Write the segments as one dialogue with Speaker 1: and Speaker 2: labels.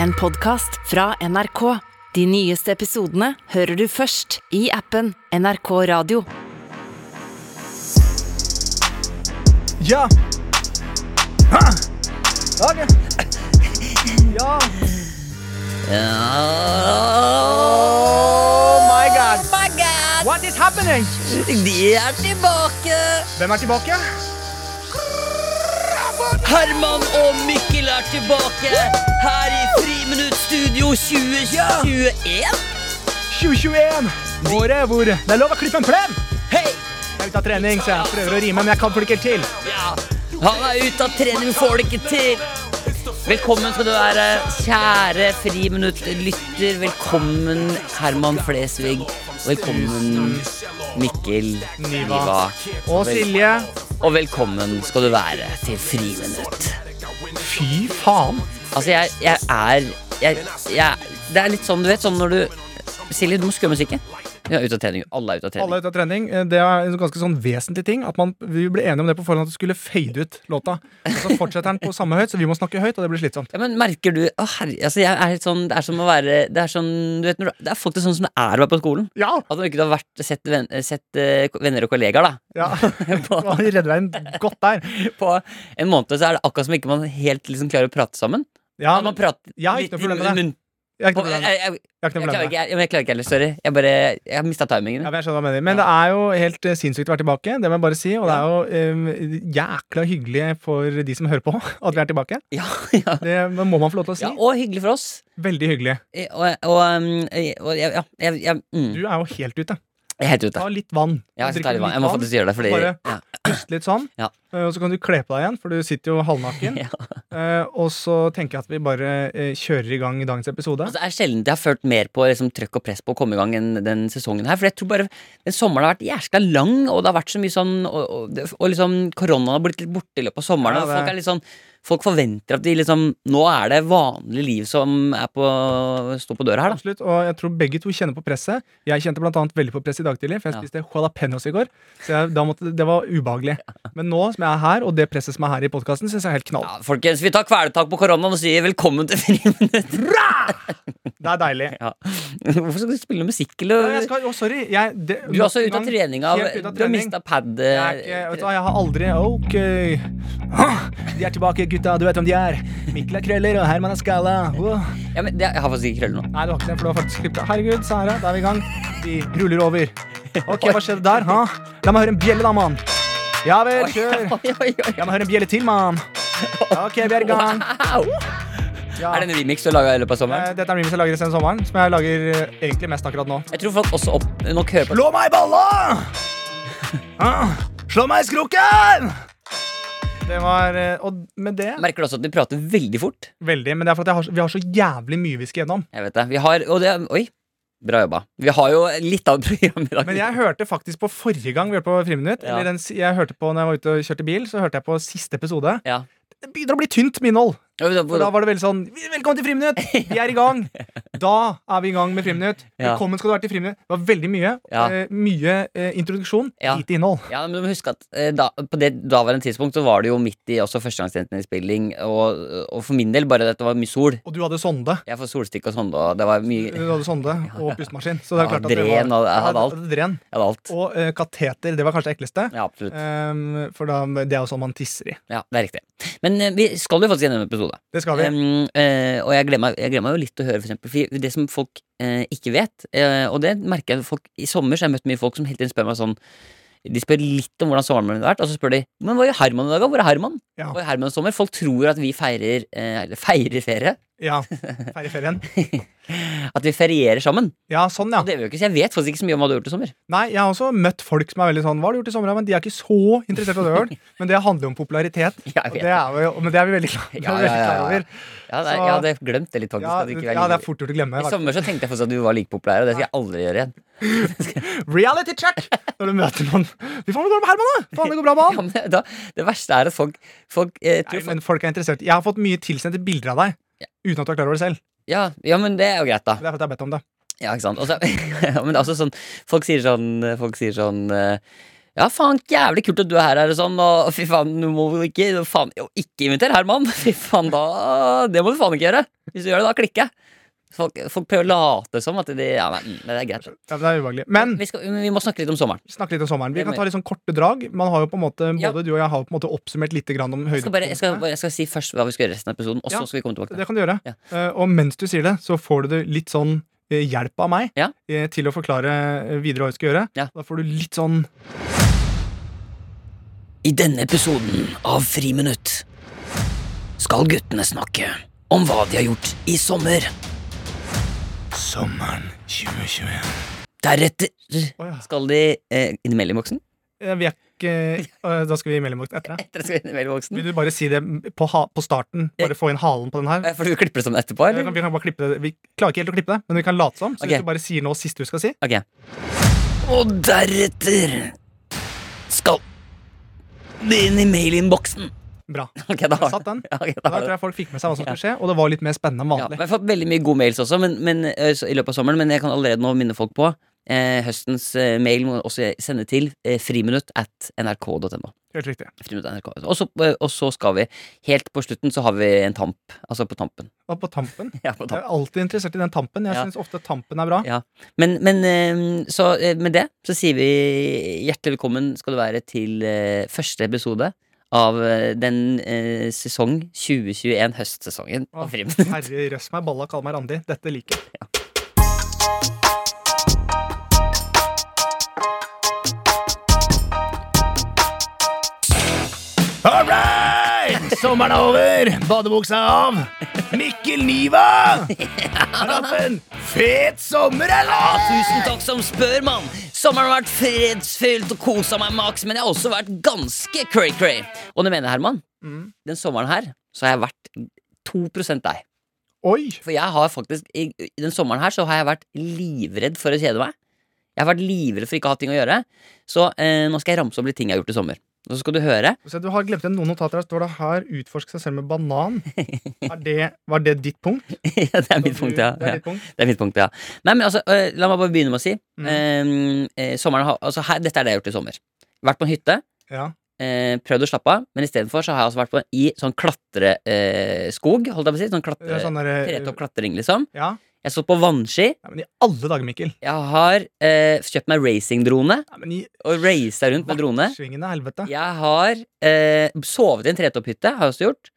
Speaker 1: En podcast fra NRK. De nyeste episodene hører du først i appen NRK Radio.
Speaker 2: Ja. Ha. Ok. Ja. Oh my god. What is happening?
Speaker 3: De er tilbake!
Speaker 2: Hvem er tilbake?
Speaker 3: Herman og Mikkel er tilbake her i Friminutt Studio 2021.
Speaker 2: 2021. Året hvor det er lov å klippe en plen. Hei! Jeg er ute av trening, så jeg prøver å rime, men jeg kan det ikke helt til.
Speaker 3: Ja. Han er ute av trening, får det ikke til. Velkommen skal du være, kjære Friminutt-lytter. Velkommen, Herman Flesvig. Velkommen, Mikkel Niva.
Speaker 2: Og Silje.
Speaker 3: Og velkommen skal du være til Friminutt.
Speaker 2: Fy faen.
Speaker 3: Altså, jeg, jeg er jeg, jeg, Det er litt sånn, du vet, sånn når du Silje, du må skru av musikken. Ja, ut av trening. Alle er ute av trening.
Speaker 2: Alle er ute av trening. Eh, Det er en ganske sånn vesentlig ting at man, vi ble enige om det på forhånd at du skulle fade ut låta. Og så fortsetter den på samme høyt, så vi må snakke høyt, og det blir slitsomt.
Speaker 3: Ja, men merker du å, herre, altså, jeg er helt sånn, Det er som å være Det er sånn, du vet, når du, det er faktisk sånn som det er å være på skolen.
Speaker 2: Ja.
Speaker 3: At du ikke har vært, sett, ven, sett eh, venner og kollegaer, da.
Speaker 2: Ja.
Speaker 3: På,
Speaker 2: Vi redder veien godt der.
Speaker 3: på en måned så er det akkurat som ikke man helt liksom klarer å prate sammen.
Speaker 2: Ja,
Speaker 3: man prater
Speaker 2: jeg har ikke noe problem med det.
Speaker 3: munn-
Speaker 2: jeg har ikke
Speaker 3: på,
Speaker 2: noe
Speaker 3: jeg,
Speaker 2: problem.
Speaker 3: jeg, jeg,
Speaker 2: Jeg har ikke noe problem
Speaker 3: klarer
Speaker 2: med det.
Speaker 3: ikke, jeg, jeg klarer ikke heller, sorry. Jeg bare Jeg har mista timingen.
Speaker 2: Ja, men jeg skjønner hva du mener. Men det er jo helt eh, sinnssykt å være tilbake. Det må jeg bare si. Og det er jo eh, jækla hyggelig for de som hører på, at vi er tilbake.
Speaker 3: Ja, ja.
Speaker 2: Det må man få lov til å si.
Speaker 3: ja, Og hyggelig for oss.
Speaker 2: Veldig hyggelig.
Speaker 3: Eh, Og, og, um, eh, og jeg, ja, jeg, jeg, mm,
Speaker 2: Du er jo helt ute.
Speaker 3: jeg er helt ute.
Speaker 2: Ta litt vann.
Speaker 3: Ja, Jeg,
Speaker 2: Drikk
Speaker 3: tar litt vann. jeg må faktisk gjøre det, fordi
Speaker 2: Bare-
Speaker 3: ja,
Speaker 2: Pust litt sånn.
Speaker 3: Ja.
Speaker 2: Eh, Og så kan du kle på deg igjen, for du sitter jo halvnaken.
Speaker 3: ja.
Speaker 2: Eh, Og så tenker jeg at vi bare eh, kjører i gang dagens episode.
Speaker 3: Altså, Det er sjelden jeg har følt mer på liksom, trøkk og press på å komme i gang enn den sesongen her. For jeg tror bare den sommeren har vært jæskla lang, og det har vært så mye sånn Og, og, det- og liksom koronaen har blitt litt borte i løpet av sommeren.
Speaker 2: Ja,
Speaker 3: og
Speaker 2: det-
Speaker 3: folk, er litt sånn, folk forventer at de liksom Nå er det vanlig liv som er på, står på døra her, da.
Speaker 2: Absolutt, og jeg tror begge to kjenner på presset. Jeg kjente blant annet veldig på presset i dag tidlig, for jeg
Speaker 3: Ja.
Speaker 2: spiste jalapeños i går. Så jeg, da måtte, det var ubehagelig. Men nå som jeg er her, og det presset som er her i podkasten, syns jeg er helt knall.
Speaker 3: Ja, folkens, vi tar kvelertak på koronaen og sier velkommen til Friminutt.
Speaker 2: Det er deilig.
Speaker 3: Ja. Hvorfor skal du spille musikk, eller?
Speaker 2: Nei, Jeg skal, å, sorry. Jeg, det,
Speaker 3: Du er også
Speaker 2: nok en
Speaker 3: ute av
Speaker 2: gang,
Speaker 3: trening av
Speaker 2: Helt ute av
Speaker 3: Du har
Speaker 2: trening.
Speaker 3: mista pad
Speaker 2: Jeg, er ikke, vet du, hva, jeg har aldri Ok. Ah, De er tilbake, gutta. Du vet hvem de er. Mikkel er krøller, og Herman er skalla. Wow.
Speaker 3: ja, men det, Jeg har faktisk ikke krøller nå.
Speaker 2: Nei, du har ikke det, for du har faktisk klippet det. Herregud, Sara, da er vi i gang. Vi ruller over. Ok, hva skjedde der? Ha? La meg høre en bjelle, da, mann. Ja vel, kjør.
Speaker 3: Oi, oi, oi.
Speaker 2: La meg høre en bjelle til, mann. Ok, vi er i gang.
Speaker 3: Au!
Speaker 2: Ja.
Speaker 3: Er det en remix du har laga i løpet av sommeren?
Speaker 2: Eh, Dette er en remix jeg lager senere sommeren, som jeg lager eh, egentlig mest akkurat nå.
Speaker 3: Jeg tror folk også opp, nok hører på
Speaker 2: Slå meg i balla! Ah, Slå meg i skrukken! Det var eh, Og med det
Speaker 3: Merker du også at vi prater veldig fort?
Speaker 2: Veldig. Men det er for at jeg har, så- vi har så jævlig mye vi skal gjennom.
Speaker 3: Jeg vet det. Vi har Og det Oi. Bra jobba. Vi har jo litt av et program i dag.
Speaker 2: Men jeg hørte faktisk på forrige gang vi hørte på Friminutt.
Speaker 3: Ja.
Speaker 2: Eller den, si- jeg hørte på når jeg var ute og kjørte bil, så hørte jeg på siste episode.
Speaker 3: Ja.
Speaker 2: Det begynner å bli tynt med innhold.
Speaker 3: Ja, men da-
Speaker 2: For da var det veldig sånn Velkommen til Friminutt! Vi er i gang! Da er vi i gang med Friminutt.
Speaker 3: Ja.
Speaker 2: Velkommen skal du være til Friminutt. Det var veldig mye.
Speaker 3: Ja.
Speaker 2: Eh, mye eh, introduksjon,
Speaker 3: Ja.
Speaker 2: lite innhold.
Speaker 3: Ja, men du må huske at eh, da, På det daværende tidspunkt så var det jo midt i også førstegangsinnspilling, og, og for min del bare at det var mye sol.
Speaker 2: Og du hadde sonde.
Speaker 3: Jeg får solstikk og sånn, og det var mye
Speaker 2: Du
Speaker 3: Jeg
Speaker 2: hadde sonde og pustemaskin. Så det er
Speaker 3: Ja,
Speaker 2: klart at det
Speaker 3: dren, og jeg hadde
Speaker 2: Ja,
Speaker 3: alt.
Speaker 2: det- det Dren.
Speaker 3: hadde alt.
Speaker 2: Og eh, kateter. Det var kanskje det ekleste.
Speaker 3: Ja, absolutt.
Speaker 2: Ehm, for da, det er jo sånn man tisser i.
Speaker 3: Ja, det er riktig. Men eh, vi skal jo faktisk gjennom en episode.
Speaker 2: Det skal vi.
Speaker 3: Em, eh, og jeg gleder, meg, jeg gleder meg jo litt til å høre, for eksempel. For det som folk eh, ikke vet, eh, og det merker jeg folk I sommer så har jeg møtt mye folk som hele tiden spør meg sånn De spør litt om hvordan sommeren min har vært, og så spør de Men hva gjør Herman i dag, da? Hvor er Herman?
Speaker 2: Ja.
Speaker 3: Hvor er Herman i sommer? Folk tror at vi feirer eh, Eller feirer ferie.
Speaker 2: Ja. Ferdig ferien.
Speaker 3: At vi ferierer sammen.
Speaker 2: Ja, sånn, ja.
Speaker 3: Og det gjør vi jo ikke, så jeg vet faktisk ikke så mye om hva du har gjort i sommer.
Speaker 2: Nei, jeg har også møtt folk som er veldig sånn Hva har du gjort i sommer? da?» Men de er ikke så interessert i det. Men det handler jo om popularitet.
Speaker 3: Ja,
Speaker 2: Og
Speaker 3: jeg
Speaker 2: det
Speaker 3: vet.
Speaker 2: er jo, men det er vi veldig klar, det
Speaker 3: Ja,
Speaker 2: er vi
Speaker 3: ja,
Speaker 2: veldig
Speaker 3: ja,
Speaker 2: klar
Speaker 3: ja.
Speaker 2: over.
Speaker 3: Ja, det er,
Speaker 2: Så-
Speaker 3: jeg hadde glemt det litt, Liksom- faktisk.
Speaker 2: Ja,
Speaker 3: at du ikke er
Speaker 2: ja, det
Speaker 3: like-
Speaker 2: er fort gjort å glemme.
Speaker 3: I sommer så tenkte jeg faktisk at du var like populær, og det skal jeg aldri gjøre igjen.
Speaker 2: Reality check! Når du møter noen. Vi får gå med Herman, da! Faen, det går bra med
Speaker 3: Ja,
Speaker 2: han!
Speaker 3: men da, det verste er at folk, folk eh,
Speaker 2: Nei,
Speaker 3: tror folk,
Speaker 2: men folk er interessert. Jeg har fått mye tilsendte bilder av deg. Uten at du er klar over det selv.
Speaker 3: ja, ja, men det er jo greit, da.
Speaker 2: Det er fordi jeg har bedt om det.
Speaker 3: Ja, ikke sant? Og så- ja, men det er også sånn Folk sier sånn Folk sier sånn eh, Ja, faen, jævlig kult at du er her, her og sånn, og fy faen, du må vel ikke faen, jo, Ikke inviter Herman! Fy faen, da Det må du faen ikke gjøre! Hvis du gjør det, da klikker jeg. Folk, folk prøver å late som at de Ja, nei, mm, det er greit.
Speaker 2: Ja, men det er ubehagelig. Men
Speaker 3: Vi, skal, vi må snakke litt om sommeren.
Speaker 2: snakke litt om sommeren. Vi kan ta litt sånn korte drag. Man har jo på en måte,
Speaker 3: Ja.
Speaker 2: Både du og jeg har på en måte oppsummert litt grann om
Speaker 3: Jeg skal, bare, jeg, skal,
Speaker 2: høydepunktene.
Speaker 3: bare, jeg skal si først hva vi skal gjøre resten av episoden, og så
Speaker 2: Ja,
Speaker 3: skal vi komme tilbake. til det.
Speaker 2: Det kan du gjøre.
Speaker 3: Ja.
Speaker 2: Eh, Og mens du sier det, så får du det litt sånn eh, hjelp av meg
Speaker 3: Ja.
Speaker 2: eh, til å forklare eh, videre hva vi skal gjøre.
Speaker 3: Ja.
Speaker 2: Da får du litt sånn
Speaker 3: I denne episoden av Friminutt skal guttene snakke om hva de har gjort i sommer.
Speaker 2: Sommeren 2021.
Speaker 3: Deretter
Speaker 2: Å ja.
Speaker 3: skal de eh, inn i meldingboksen.
Speaker 2: Eh, Vi er ikke eh, Da skal vi i mellomvakt etter det.
Speaker 3: Etter skal de inn i
Speaker 2: Vil
Speaker 3: mailboksen.
Speaker 2: du bare si det på, ha på starten? Bare få inn halen på den her?
Speaker 3: Eh, For du klipper det sammen etterpå,
Speaker 2: Vi kan,
Speaker 3: eller?
Speaker 2: vi kan bare klippe det. Vi klarer ikke helt å klippe det, men vi kan late som. Så
Speaker 3: Ok.
Speaker 2: hvis du bare sier nå siste du skal si
Speaker 3: Ok. Og deretter skal de inn i mailinnboksen.
Speaker 2: Bra.
Speaker 3: Ok, da har
Speaker 2: Satt den.
Speaker 3: Ja, ok,
Speaker 2: Da
Speaker 3: da har
Speaker 2: tror
Speaker 3: det.
Speaker 2: jeg folk fikk med seg hva som skulle skje, og det var litt mer spennende enn
Speaker 3: Ja, men
Speaker 2: vanlig.
Speaker 3: jeg har fått veldig mye gode mails også men, men, eh, så- i løpet av sommeren, men jeg kan allerede nå minne folk på eh, høstens eh, mail må også sende til eh, friminutt at nrk.no.
Speaker 2: Helt riktig.
Speaker 3: Friminutt at nrk.no. Og så- Og så skal vi, helt på slutten, så har vi en tamp. Altså på tampen.
Speaker 2: Og på tampen
Speaker 3: Ja, på
Speaker 2: Jeg
Speaker 3: tampen.
Speaker 2: er alltid interessert i den tampen. Jeg
Speaker 3: Ja.
Speaker 2: synes syns ofte tampen er bra.
Speaker 3: Ja. Men, men eh, så eh, med det så sier vi hjertelig velkommen skal du være til eh, første episode av eh, den eh, sesong 2021, høstsesongen
Speaker 2: Å,
Speaker 3: av Friminutt.
Speaker 2: Herre røss meg, balla kall meg Randi. Dette liker jeg.
Speaker 4: All right! Sommeren er over, badebuksa er av. Mikkel Niva! Har hatt en fet sommer,
Speaker 3: Ja,
Speaker 4: eller?
Speaker 3: tusen takk som spør, mann. Sommeren har vært fredsfylt og kosa meg maks, men jeg har også vært ganske cray-cray. Og du mener, Herman,
Speaker 2: Mm.
Speaker 3: den sommeren her så har jeg vært 2 deg.
Speaker 2: Oi!
Speaker 3: For jeg har faktisk i, i Den sommeren her så har jeg vært livredd for å kjede meg. Jeg har vært livredd for ikke å ha ting å gjøre. Så eh, nå skal jeg ramse opp litt ting jeg har gjort i sommer. Og så skal du høre.
Speaker 2: Så du har glemt igjen noen notater. Her står det 'her utforsk seg selv med banan'. Er det, var det ditt punkt?
Speaker 3: ja, det er mitt punkt, ja.
Speaker 2: Det er
Speaker 3: ja.
Speaker 2: ditt punkt.
Speaker 3: Det er mitt punkt, ja. Nei, men altså, øh, La meg bare begynne med å si.
Speaker 2: Mm.
Speaker 3: ehm, eh, sommeren har, altså, her, dette er det jeg har gjort i sommer. Vært på en hytte.
Speaker 2: Ja.
Speaker 3: eh, prøvd å slappe av, men istedenfor har jeg altså vært på, i sånn klatreskog. Eh, skog, holdt jeg på å si. Sånn
Speaker 2: Det er
Speaker 3: klatre,
Speaker 2: sånn derre
Speaker 3: Tretopp klatring, liksom.
Speaker 2: ja.
Speaker 3: Jeg så på vannski.
Speaker 2: Nei, men i alle dager, Mikkel.
Speaker 3: Jeg har eh, kjøpt meg racingdrone
Speaker 2: Nei, men i
Speaker 3: og raisa rundt med drone.
Speaker 2: svingende helvete.
Speaker 3: Jeg har eh, sovet i en tretopphytte, har jeg også gjort.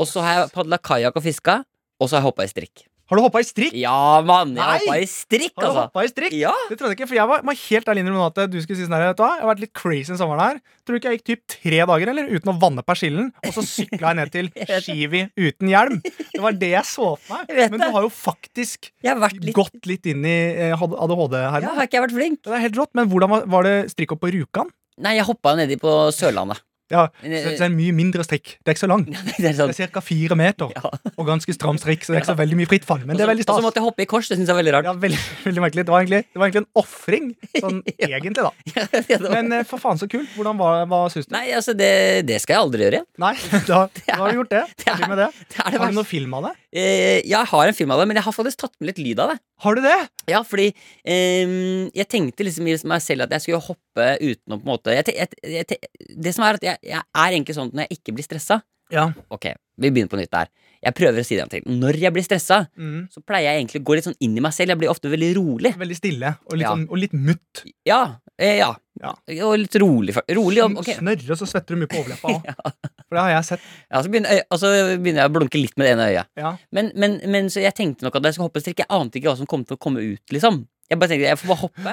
Speaker 3: Og så har jeg padla kajakk og fiska. Og så har jeg hoppa i strikk.
Speaker 2: Har du hoppa i strikk?
Speaker 3: Ja, mann! Jeg
Speaker 2: Nei!
Speaker 3: hoppa i strikk,
Speaker 2: Har du
Speaker 3: altså.
Speaker 2: hoppa i strikk?
Speaker 3: Ja,
Speaker 2: Det trodde jeg ikke, for jeg var, var helt ærlig innrømme at du skulle si sånn her, vet du hva, jeg har vært litt crazy den sommeren her. Tror du ikke jeg gikk typ tre dager eller, uten å vanne persillen, og så sykla jeg ned til Skivi uten hjelm. Det var det jeg så for
Speaker 3: Jeg
Speaker 2: meg.
Speaker 3: vet
Speaker 2: Men
Speaker 3: det.
Speaker 2: du har jo faktisk
Speaker 3: jeg har vært litt
Speaker 2: gått litt inn i eh, ADHD her.
Speaker 3: Ja,
Speaker 2: nå.
Speaker 3: har ikke jeg vært flink?
Speaker 2: Det er helt rått, men hvordan var, var det strikk opp på Rjukan?
Speaker 3: Nei, jeg hoppa nedi på Sørlandet.
Speaker 2: Ja,
Speaker 3: Men,
Speaker 2: så
Speaker 3: eh,
Speaker 2: det er mye mindre strikk. Det er ikke så lang.
Speaker 3: det er
Speaker 2: Det
Speaker 3: sånn
Speaker 2: er ca. fire meter,
Speaker 3: ja.
Speaker 2: og ganske stram strikk, så det er ikke så veldig mye fritt fall. Men det er veldig
Speaker 3: Og så
Speaker 2: stas.
Speaker 3: måtte jeg hoppe i kors. Det syns jeg er veldig rart.
Speaker 2: Ja, veldig, veldig merkelig. Det var egentlig, det var egentlig en ofring, sånn egentlig, da.
Speaker 3: Ja, det var-
Speaker 2: Men eh, for faen så kult. Hvordan var, Hva syns du?
Speaker 3: Nei, altså, det, det skal jeg aldri gjøre igjen.
Speaker 2: Nei, da, da har du gjort det.
Speaker 3: er-
Speaker 2: Ferdig med det.
Speaker 3: Det er det
Speaker 2: Har du
Speaker 3: verste.
Speaker 2: noen film av det?
Speaker 3: Eh, jeg har en film av det, men jeg har faktisk tatt med litt lyd av det.
Speaker 2: Har du det?
Speaker 3: Ja, fordi ehm, jeg tenkte liksom i meg selv at jeg skulle hoppe uten å på en måte jeg, te- jeg, jeg, te- Det som er at jeg, jeg er egentlig sånn at når jeg ikke blir stressa
Speaker 2: Ja.
Speaker 3: Ok, vi begynner på nytt der. Jeg prøver å si det en ting. Når jeg blir stressa,
Speaker 2: Mm.
Speaker 3: så pleier jeg egentlig å gå litt sånn inn i meg selv. Jeg blir ofte veldig rolig.
Speaker 2: Veldig stille og litt,
Speaker 3: Ja.
Speaker 2: sånn, og litt mutt.
Speaker 3: Ja. Eh, ja.
Speaker 2: Ja.
Speaker 3: Og litt rolig. for- Rolig og ok.
Speaker 2: Snørre, og så svetter du mye på overleppa òg. For det har jeg sett.
Speaker 3: Ja, så begynner, øy- og så begynner jeg å blunke litt med det ene øyet.
Speaker 2: Ja.
Speaker 3: Men, men, men så jeg tenkte nok at jeg skulle hoppe strikk. Jeg ante ikke hva som kom til å komme ut, liksom. Jeg bare tenkte, jeg får bare hoppe.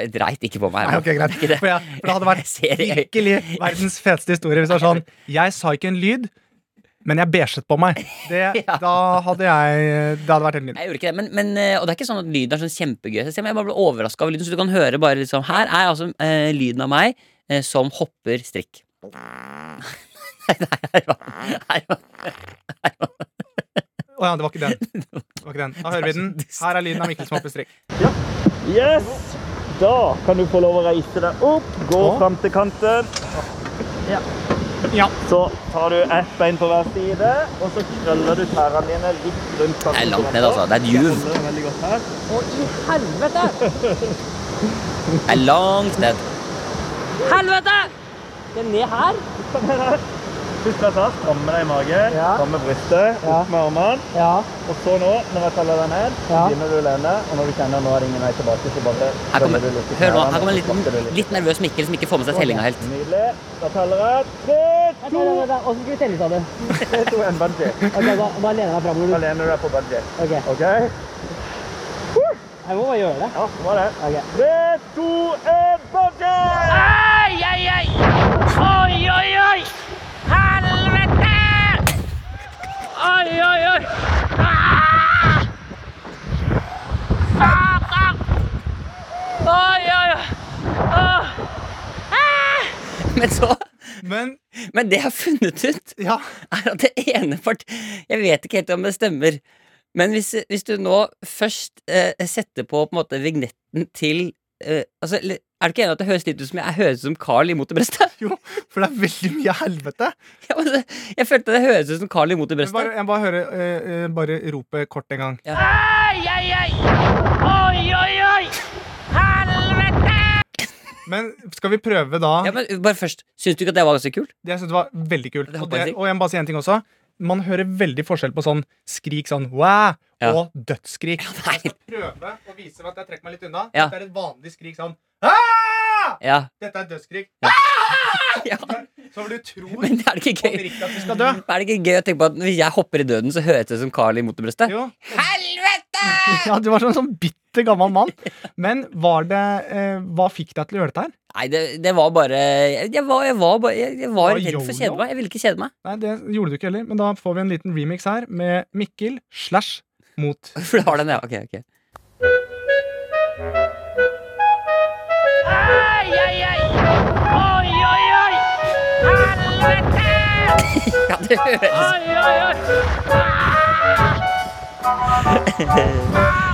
Speaker 3: Jeg dreit ikke på meg.
Speaker 2: Nei, ok, greit.
Speaker 3: Ikke det.
Speaker 2: For, jeg, for det hadde vært
Speaker 3: Jeg ser det i øyet.
Speaker 2: virkelig verdens feteste historie hvis det var sånn Jeg sa ikke en lyd, men jeg beiget på meg. Det,
Speaker 3: Ja.
Speaker 2: da hadde jeg Det hadde vært helt nydelig.
Speaker 3: Jeg gjorde ikke det, men, men, eh, Og det er ikke sånn at lyden er sånn kjempegøy. Så jeg bare ble overraska over lyden, så du kan høre bare liksom Her er altså eh, lyden av meg eh, som hopper strikk. Nei, Herman. Herman.
Speaker 2: Å ja, det var ikke den. Det var ikke den. Da hører vi den. Her er lyden av Mikkel som hopper strikk.
Speaker 5: Yes! Da kan du få lov å reise deg opp, gå
Speaker 2: Ja.
Speaker 5: fram til kanten.
Speaker 2: Ja.
Speaker 5: Så tar du ett bein på hver side, og så krøller du tærne dine litt rundt kanten.
Speaker 3: Det er langt ned, altså. Det er et juv.
Speaker 5: Holder veldig godt her.
Speaker 3: Det er langt ned. Helvete! Det er ned her.
Speaker 5: Husk at jeg strammer deg i magen,
Speaker 2: Ja.
Speaker 5: strammer brystet, opp med armene.
Speaker 2: Ja.
Speaker 5: Og så nå, når jeg teller deg ned, så
Speaker 2: Ja.
Speaker 5: begynner du å lene. Og når du kjenner nå er det ingen vei tilbake, så bare
Speaker 3: Her kommer,
Speaker 5: bøyer du litt i
Speaker 3: hør nå,
Speaker 5: knærne,
Speaker 3: her kommer en
Speaker 5: og så
Speaker 3: liten,
Speaker 5: slakker du litt.
Speaker 3: litt nervøs Mikkel som ikke får med seg tellinga helt.
Speaker 5: Nydelig. Da teller jeg tre, to,
Speaker 6: Åssen skal vi telle, sa du?
Speaker 5: tre, to, en bungee.
Speaker 6: Ok, Da, da lener jeg meg framover.
Speaker 5: Da lener du deg på bungee.
Speaker 6: Ok,
Speaker 5: OK?
Speaker 6: Jeg må bare gjøre det.
Speaker 5: Ja, så var det. Tre, to, en bungee!
Speaker 3: Men så
Speaker 2: Men
Speaker 3: Men det jeg har funnet ut,
Speaker 2: ja.
Speaker 3: er at det ene part Jeg vet ikke helt om det stemmer. Men hvis, hvis du nå først eh, setter på på en måte vignetten til eh, altså, eller, Er du ikke enig i at det høres litt ut som jeg høres ut som Carl i Mot i brøstet?
Speaker 2: Jo, for det er veldig mye helvete.
Speaker 3: Ja, men det- Jeg følte det høres ut som Carl i Mot i
Speaker 2: Jeg bare,
Speaker 3: brøstet.
Speaker 2: jeg bare hører eh, eh, Bare rope kort en gang. Men skal vi prøve da
Speaker 3: Ja, men bare først Syns du ikke at det var ganske kult?
Speaker 2: Det jeg synes det var veldig kult.
Speaker 3: Det
Speaker 2: Og,
Speaker 3: håper
Speaker 2: det,
Speaker 3: jeg ikke.
Speaker 2: og jeg må bare si en ting også. Man hører veldig forskjell på sånn skrik sånn wow
Speaker 3: Ja.
Speaker 2: og dødsskrik.
Speaker 3: nei.
Speaker 2: Jeg skal prøve å vise meg at jeg trekker meg litt unna.
Speaker 3: Ja.
Speaker 2: Dette er et vanlig skrik sånn «Ah!»
Speaker 3: Ja.
Speaker 2: Dette er et dødsskrik.
Speaker 3: ja.
Speaker 2: Så hvor du tror
Speaker 3: Men er det ikke gøy?
Speaker 2: oppriktig at du skal dø.
Speaker 3: Er det ikke gøy å tenke på at hvis jeg hopper i døden, så høres det ut som Carl i Mot i brøstet?
Speaker 2: Jo.
Speaker 3: Helvete!
Speaker 2: Ja, du var sånn, sånn bitter gammel mann. Men var det eh, Hva fikk deg til å gjøre dette her?
Speaker 3: Nei, det, det var bare Jeg, jeg var, jeg var, bare- jeg, jeg var
Speaker 2: Det var
Speaker 3: redd for å
Speaker 2: YOLO.
Speaker 3: kjede meg. Jeg ville ikke kjede meg.
Speaker 2: Nei, det gjorde du ikke heller, men da får vi en liten remix her med Mikkel slash mot
Speaker 3: For du har den, ja. Ok, ok. Ja, det høres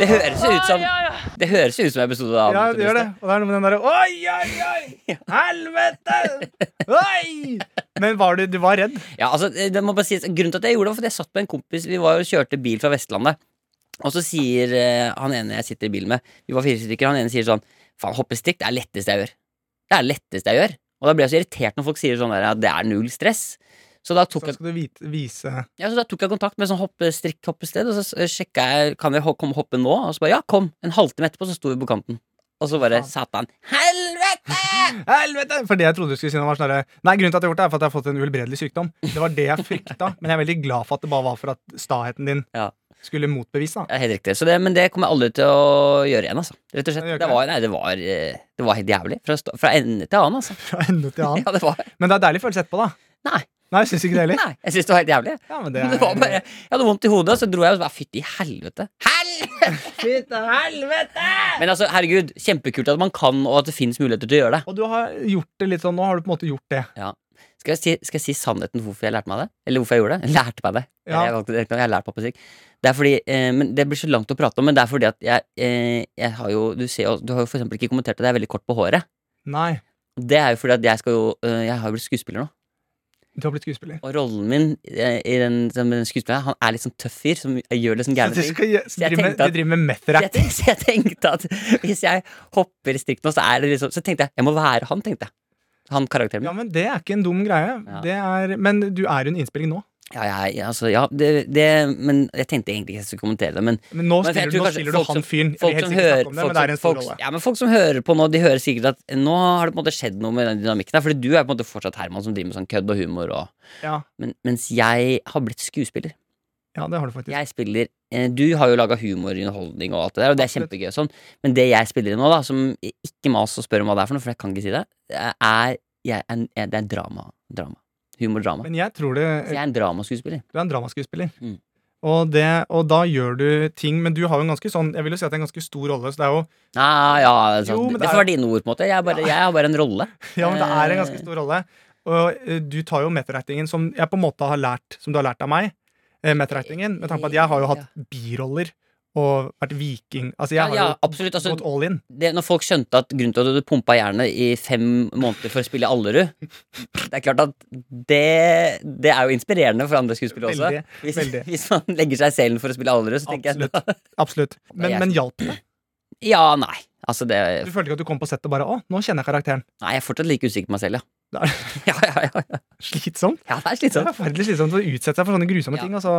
Speaker 3: Det høres jo ut som Det høres jo ut som episode av
Speaker 2: Ja,
Speaker 3: Mot
Speaker 2: det
Speaker 3: i
Speaker 2: gjør det.
Speaker 3: brøstet.
Speaker 2: Og det er noe med den derre Oi, oi, oi! Helvete! Oi! Men var du, du var redd?
Speaker 3: Ja, altså, det det må bare sies Grunnen til at jeg gjorde det, var fordi jeg satt med en kompis. Vi var og kjørte bil fra Vestlandet. Og så sier eh, han ene jeg sitter i bilen med Vi var fire stykker. Han ene sier sånn Faen, hoppestrikk, det er det letteste jeg gjør. Det er det letteste jeg gjør. Og da ble jeg så irritert når folk sier sånn der, at det er null stress. Så da
Speaker 2: Så
Speaker 3: tok jeg
Speaker 2: skal du vite, vise
Speaker 3: Ja, så da tok jeg kontakt med sånn hoppestrikk-hoppested, og så s- sjekka jeg kan jeg ho- komme og hoppe nå. Og så bare ja, kom. En halvtime etterpå så sto vi på kanten. Og så bare satan. Helvete!
Speaker 2: Helvete! For det jeg trodde du skulle si nå, var sånn derre Nei, grunnen til at jeg har gjort det, er for at jeg har fått en uhelbredelig sykdom. Det var det jeg frykta, men jeg er veldig glad for at det bare var for at staheten din
Speaker 3: Ja.
Speaker 2: skulle motbevise. da
Speaker 3: Ja, helt riktig. Så det, men det kommer jeg aldri til å gjøre igjen, altså. Rett og slett.
Speaker 2: Det gjør ikke
Speaker 3: Det var, nei, det var, eh, det var helt jævlig. Fra, sta- fra ende til annen, altså.
Speaker 2: Fra ende til annen.
Speaker 3: Ja, det var
Speaker 2: Men det er deilig følelse etterpå, da.
Speaker 3: Nei.
Speaker 2: Nei, syns ikke det heller.
Speaker 3: Nei, jeg syns det var helt jævlig.
Speaker 2: Ja, men det
Speaker 3: Men
Speaker 2: er
Speaker 3: det var bare, jeg hadde vondt i hodet, og så dro jeg og så bare Fytti helvete. Helvete! Men altså, herregud, kjempekult at man kan, og at det fins muligheter til å gjøre det.
Speaker 2: Og du har gjort det litt sånn, nå har du på en måte gjort det.
Speaker 3: Skal jeg, si, skal jeg si sannheten hvorfor jeg lærte meg det? Eller hvorfor jeg gjorde det? Lærte meg det.
Speaker 2: Ja.
Speaker 3: Jeg, valgte det ikke, jeg har lært meg på musikk. Det er fordi, eh, men det blir så langt å prate om, men det er fordi at jeg, eh, jeg har jo Du, ser, jo- du har jo for eksempel ikke kommentert at jeg er veldig kort på håret.
Speaker 2: Nei,
Speaker 3: Det er jo fordi at jeg skal jo eh, Jeg har jo blitt skuespiller nå.
Speaker 2: du har blitt skuespiller.
Speaker 3: Og rollen min eh, i den, som den skuespilleren han er litt sånn tøff fyr som gjør litt sånn
Speaker 2: Så
Speaker 3: gærne
Speaker 2: du
Speaker 3: ting.
Speaker 2: skal gjø-
Speaker 3: jeg
Speaker 2: drive med,
Speaker 3: tenkte at-
Speaker 2: du driver med meth
Speaker 3: Så jeg,
Speaker 2: rap
Speaker 3: tenkte, så jeg tenkte at hvis jeg hopper i strikk nå, så er det liksom Så tenkte jeg jeg må være han, tenkte jeg. Han karakteren.
Speaker 2: Ja, men det er ikke en dum greie.
Speaker 3: Ja.
Speaker 2: Det er, men du er jo en innspilling nå.
Speaker 3: Ja, jeg, altså, ja det, det Men jeg tenkte egentlig ikke jeg skulle kommentere det, men
Speaker 2: Men nå
Speaker 3: Men jeg
Speaker 2: spiller,
Speaker 3: tror
Speaker 2: du, nå
Speaker 3: kanskje
Speaker 2: spiller du
Speaker 3: folk
Speaker 2: han
Speaker 3: som-
Speaker 2: fyren. Jeg vil
Speaker 3: folk
Speaker 2: helst
Speaker 3: som,
Speaker 2: ikke
Speaker 3: hører,
Speaker 2: snakke om det,
Speaker 3: folk,
Speaker 2: men det er
Speaker 3: som-
Speaker 2: en stor
Speaker 3: folk,
Speaker 2: rolle.
Speaker 3: ja, men folk som hører på nå, de hører sikkert at nå har det på en måte skjedd noe med den dynamikken her. Fordi du er på en måte fortsatt Herman som driver med sånn kødd og humor. Og,
Speaker 2: Ja.
Speaker 3: men, mens jeg har blitt skuespiller.
Speaker 2: ja, det har du faktisk.
Speaker 3: Jeg spiller eh, Du har jo laga humorunderholdning og alt det der, og det er kjempegøy. og Sånn. Men det jeg spiller i nå, da, som ikke mas og spør om hva det er for noe, for jeg kan ikke si det, er, jeg, er, er Det er drama. drama. Humordrama.
Speaker 2: Men eh, jeg tror det,
Speaker 3: Så jeg er en dramaskuespiller.
Speaker 2: du er en dramaskuespiller.
Speaker 3: Mm.
Speaker 2: Og, det, og da gjør du ting Men du har jo en ganske sånn Jeg vil jo si at det er en ganske stor rolle, så det er jo
Speaker 3: Ah, ja, altså,
Speaker 2: Jo, men
Speaker 3: det,
Speaker 2: det er-
Speaker 3: får være dine ord, på en måte. Jeg, er bare, jeg har bare en rolle.
Speaker 2: Ja, men det er en ganske
Speaker 3: Eh.
Speaker 2: stor rolle. Og eh, du tar jo metterreitingen som jeg på en måte har lært Som du har lært av meg. eh, Metterreitingen. Med tanke på at jeg har jo hatt biroller og vært viking. Altså, jeg
Speaker 3: Ja,
Speaker 2: har
Speaker 3: ja,
Speaker 2: jo
Speaker 3: absolutt. Altså,
Speaker 2: gått all in.
Speaker 3: det, når folk skjønte at grunnen til at du pumpa jernet i fem måneder for å spille Allerud Det er klart at det, det er jo inspirerende for andre skuespillere også.
Speaker 2: Veldig,
Speaker 3: hvis,
Speaker 2: veldig.
Speaker 3: hvis man legger seg i selen for å spille Allerud, så tenker
Speaker 2: Absolutt.
Speaker 3: jeg
Speaker 2: Absolutt. Men,
Speaker 3: jeg
Speaker 2: men hjalp det?
Speaker 3: Ja, nei. Altså, det
Speaker 2: Du følte ikke at du kom på settet og bare 'Å, nå kjenner jeg karakteren'.
Speaker 3: Nei, jeg er fortsatt like usikker på meg selv,
Speaker 2: Det
Speaker 3: ja.
Speaker 2: er-
Speaker 3: ja, ja, ja, ja.
Speaker 2: Slitsomt.
Speaker 3: ja det er
Speaker 2: Det er
Speaker 3: slitsomt.
Speaker 2: forferdelig slitsomt å utsette seg for sånne grusomme
Speaker 3: Ja.
Speaker 2: ting. Altså.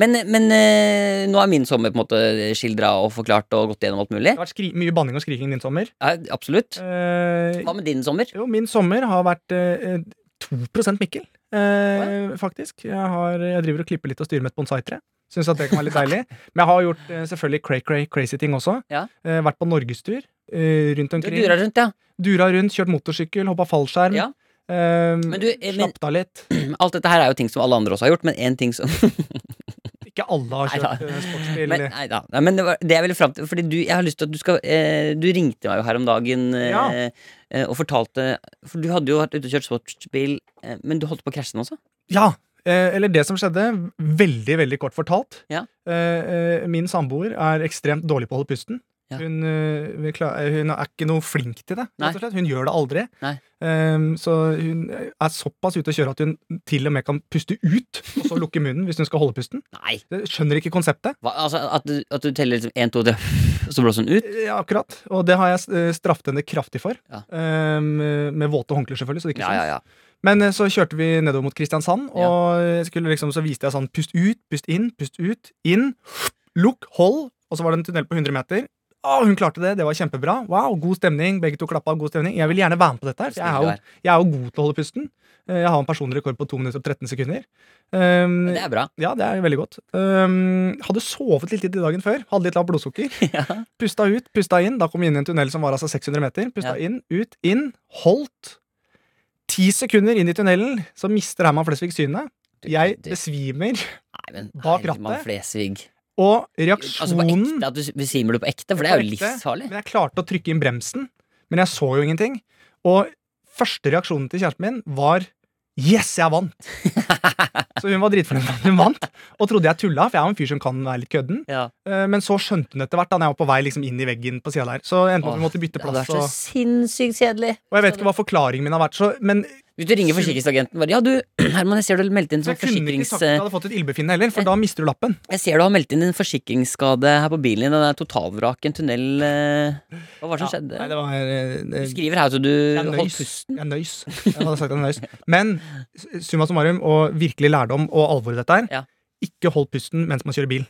Speaker 3: Men, men eh, nå er min sommer på en måte skildra og forklart og gått gjennom alt mulig.
Speaker 2: Det har vært skri mye banning og skriking din sommer.
Speaker 3: Ja, absolutt.
Speaker 2: Eh,
Speaker 3: Hva med din sommer?
Speaker 2: jo, min sommer har vært eh, 2 Mikkel, eh, faktisk. Jeg, har, jeg driver og klipper litt og styrer med et bonsai-tre. Syns at det kan være litt deilig. Men jeg har gjort eh, selvfølgelig cray-cray crazy ting også.
Speaker 3: Ja.
Speaker 2: Eh, vært på norgestur eh, rundt
Speaker 3: Du
Speaker 2: omkring.
Speaker 3: durer rundt, ja.
Speaker 2: Dura rundt, kjørt motorsykkel, hoppa fallskjerm.
Speaker 3: Ja.
Speaker 2: Eh,
Speaker 3: Men du, eh, men-
Speaker 2: Slappet av litt.
Speaker 3: Alt dette her er jo ting som alle andre også har gjort, men én ting som
Speaker 2: Ikke alle har
Speaker 3: Neida.
Speaker 2: kjørt eh, sportsbil.
Speaker 3: Men, nei, da. Nei, men det, var, det jeg ville fram til Fordi du, jeg har lyst til at du skal eh, Du ringte meg jo her om dagen eh,
Speaker 2: Ja.
Speaker 3: eh, og fortalte For du hadde jo vært ute og kjørt sportsbil, eh, men du holdt på å krasje den også?
Speaker 2: Ja, eh, eller det som skjedde, veldig, veldig kort fortalt.
Speaker 3: Ja.
Speaker 2: Eh, eh, Min samboer er ekstremt dårlig på å holde pusten.
Speaker 3: Ja.
Speaker 2: Hun, eh, vil kla- eh, hun er ikke noe flink til det,
Speaker 3: Nei.
Speaker 2: rett og slett. Hun gjør det aldri.
Speaker 3: Nei.
Speaker 2: Ehm, så hun er såpass ute å kjøre at hun til og med kan puste ut, og så lukke munnen hvis hun skal holde pusten.
Speaker 3: Nei!
Speaker 2: Jeg Skjønner ikke konseptet.
Speaker 3: Hva, altså, at, du, at du teller liksom én, to, tre, og så blåser den ut?
Speaker 2: Eh, Ja, akkurat. Og det har jeg eh, straffet henne kraftig for.
Speaker 3: Ja.
Speaker 2: Ehm, eh, med våte håndklær, selvfølgelig. Så det ikke sånn.
Speaker 3: Ja,
Speaker 2: syns.
Speaker 3: ja, ja.
Speaker 2: Men eh, så kjørte vi nedover mot Kristiansand,
Speaker 3: Ja.
Speaker 2: og jeg skulle liksom, så viste jeg sånn pust ut, pust inn, pust ut, inn, lukk, hold, og så var det en tunnel på 100 meter. Å, hun klarte det, det var kjempebra. Wow, god stemning. Begge to klappa, god stemning. Jeg vil gjerne være med på dette her. for Jeg er,
Speaker 3: Snill du er.
Speaker 2: jo, jeg er jo god til å holde pusten. Eh, Jeg har en personlig rekord på 2 minutter og 13 sekunder. Um,
Speaker 3: Det er bra.
Speaker 2: ja, det er veldig godt. Um, hadde sovet litt lite dagen før. Hadde litt lavt blodsukker. Pusta ut, pusta inn. Da kom vi inn i en tunnel som var altså 600 meter. Pusta
Speaker 3: Ja.
Speaker 2: inn, ut, inn. Holdt. Ti sekunder inn i tunnelen, så mister Herman Flesvig synet.
Speaker 3: Du-
Speaker 2: Jeg
Speaker 3: du-
Speaker 2: besvimer.
Speaker 3: Nei, men
Speaker 2: bak
Speaker 3: Herman
Speaker 2: rattet.
Speaker 3: Flesvig.
Speaker 2: Og
Speaker 3: Altså på
Speaker 2: reaksjonen
Speaker 3: ekte, at du besvimer du på ekte, for det er jo
Speaker 2: på ekte,
Speaker 3: livsfarlig.
Speaker 2: Men jeg klarte å trykke inn bremsen, men jeg så jo ingenting. Og første reaksjonen til kjæresten min var Yes, jeg vant! så hun var dritfornøyd med at hun vant, og trodde jeg tulla, for jeg er jo en fyr som kan være litt kødden.
Speaker 3: Ja.
Speaker 2: Eh, Men så skjønte hun etter hvert, da når jeg var på vei liksom inn i veggen på siden der. Så endte man
Speaker 3: Åh,
Speaker 2: vi måtte bytte
Speaker 3: Det hadde
Speaker 2: plass.
Speaker 3: vært så
Speaker 2: Og,
Speaker 3: sinnssykt kjedelig.
Speaker 2: og jeg vet ikke hva forklaringen min har vært, så, men
Speaker 3: Hvis du ringer forsikringsagenten bare Ja, du, Herman, jeg ser du har meldt inn
Speaker 2: jeg
Speaker 3: sånn
Speaker 2: kunne ikke
Speaker 3: forsikrings...
Speaker 2: sagt at jeg hadde fått et ildbefinnende heller,
Speaker 3: Eh,
Speaker 2: for da mister du lappen.
Speaker 3: Jeg ser du har meldt inn en forsikringsskade her på bilen din. Den er totalvrak, en tunnel eh, Hva var det som
Speaker 2: Ja,
Speaker 3: skjedde?
Speaker 2: Nei, det var, eh, det,
Speaker 3: Du skriver her at du
Speaker 2: jeg er
Speaker 3: holdt
Speaker 2: nøys.
Speaker 3: pusten.
Speaker 2: Jeg er nøys. Jeg hadde sagt jeg er nøys. Men s- summa summarum, og virkelig lærdom og alvoret i dette her,
Speaker 3: Ja.
Speaker 2: ikke hold pusten mens man kjører bil.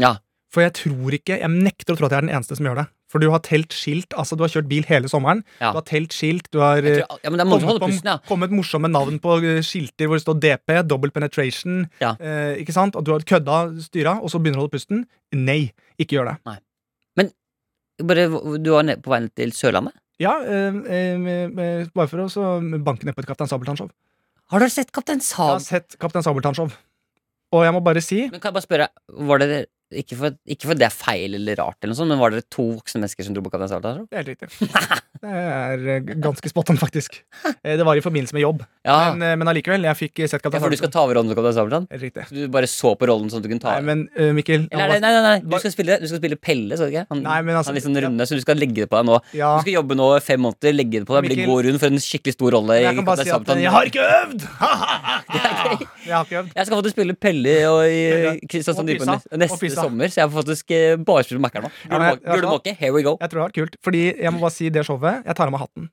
Speaker 3: Ja.
Speaker 2: For jeg tror ikke, jeg nekter å tro at jeg er den eneste som gjør det. For du har telt skilt, altså du har kjørt bil hele sommeren,
Speaker 3: Ja.
Speaker 2: du har telt skilt, du har eh,
Speaker 3: Jeg tror, ja men da må du holde
Speaker 2: på-
Speaker 3: pusten, ja.
Speaker 2: kommet morsomme navn på eh, skilter hvor det står DP, double penetration,
Speaker 3: Ja.
Speaker 2: eh, ikke sant? Og du har kødda styra, og så begynner du å holde pusten. Nei, ikke gjør det.
Speaker 3: Bare, du var ned på vei ned til Sørlandet?
Speaker 2: Ja, eh, eh, eh, bare for å så banke ned på et Kaptein Sabeltann-show.
Speaker 3: Har dere sett Kaptein
Speaker 2: Jeg har
Speaker 3: Sabeltann?
Speaker 2: sett Kaptein Sabeltann-show. Og jeg må bare si
Speaker 3: Men kan jeg bare spørre, var dere ikke for, ikke for det er feil eller rart, eller noe sånt, men var dere to voksne mennesker som dro på Kaptein Sabeltann?
Speaker 2: det er helt riktig. Det er eh, ganske spot on, faktisk. Eh, Det var i forbindelse med jobb.
Speaker 3: Ja,
Speaker 2: Men, eh, men allikevel, jeg fikk sett
Speaker 3: ja,
Speaker 2: Kaptein
Speaker 3: for du skal ta over rollen som Kaptein Sabeltann?
Speaker 2: Helt riktig.
Speaker 3: Så Du bare så på rollen sånn at du kunne ta
Speaker 2: Nei,
Speaker 3: over?
Speaker 2: men eh, Mikkel jeg
Speaker 3: Eller,
Speaker 2: må
Speaker 3: er det- nei, nei, nei, du
Speaker 2: bare-
Speaker 3: skal spille, du skal spille Pelle, så du ikke? Han,
Speaker 2: Nei, men altså-
Speaker 3: han er litt sånn runde, så du skal legge det på deg nå.
Speaker 2: ja,
Speaker 3: Du skal jobbe nå fem måneder, legge det på deg, bli
Speaker 2: Mikkel.
Speaker 3: god rund for en skikkelig stor rolle. i
Speaker 2: Jeg kan bare
Speaker 3: Kaptein
Speaker 2: si at
Speaker 3: Sabeltann.
Speaker 2: jeg har ikke øvd! Jeg har ikke øvd.
Speaker 3: Jeg skal faktisk spille Pelle og i Kristiansand
Speaker 2: Og
Speaker 3: Dype
Speaker 2: Pisa.
Speaker 3: neste, neste
Speaker 2: Og Pisa.
Speaker 3: sommer, så jeg får faktisk eh, bare spille Mackeren nå.
Speaker 2: Ja, men jeg- jeg
Speaker 3: Gule
Speaker 2: sa-
Speaker 3: måke, here we go.
Speaker 2: Jeg tror det var kult, fordi jeg må bare si det showet. Jeg tar av meg hatten.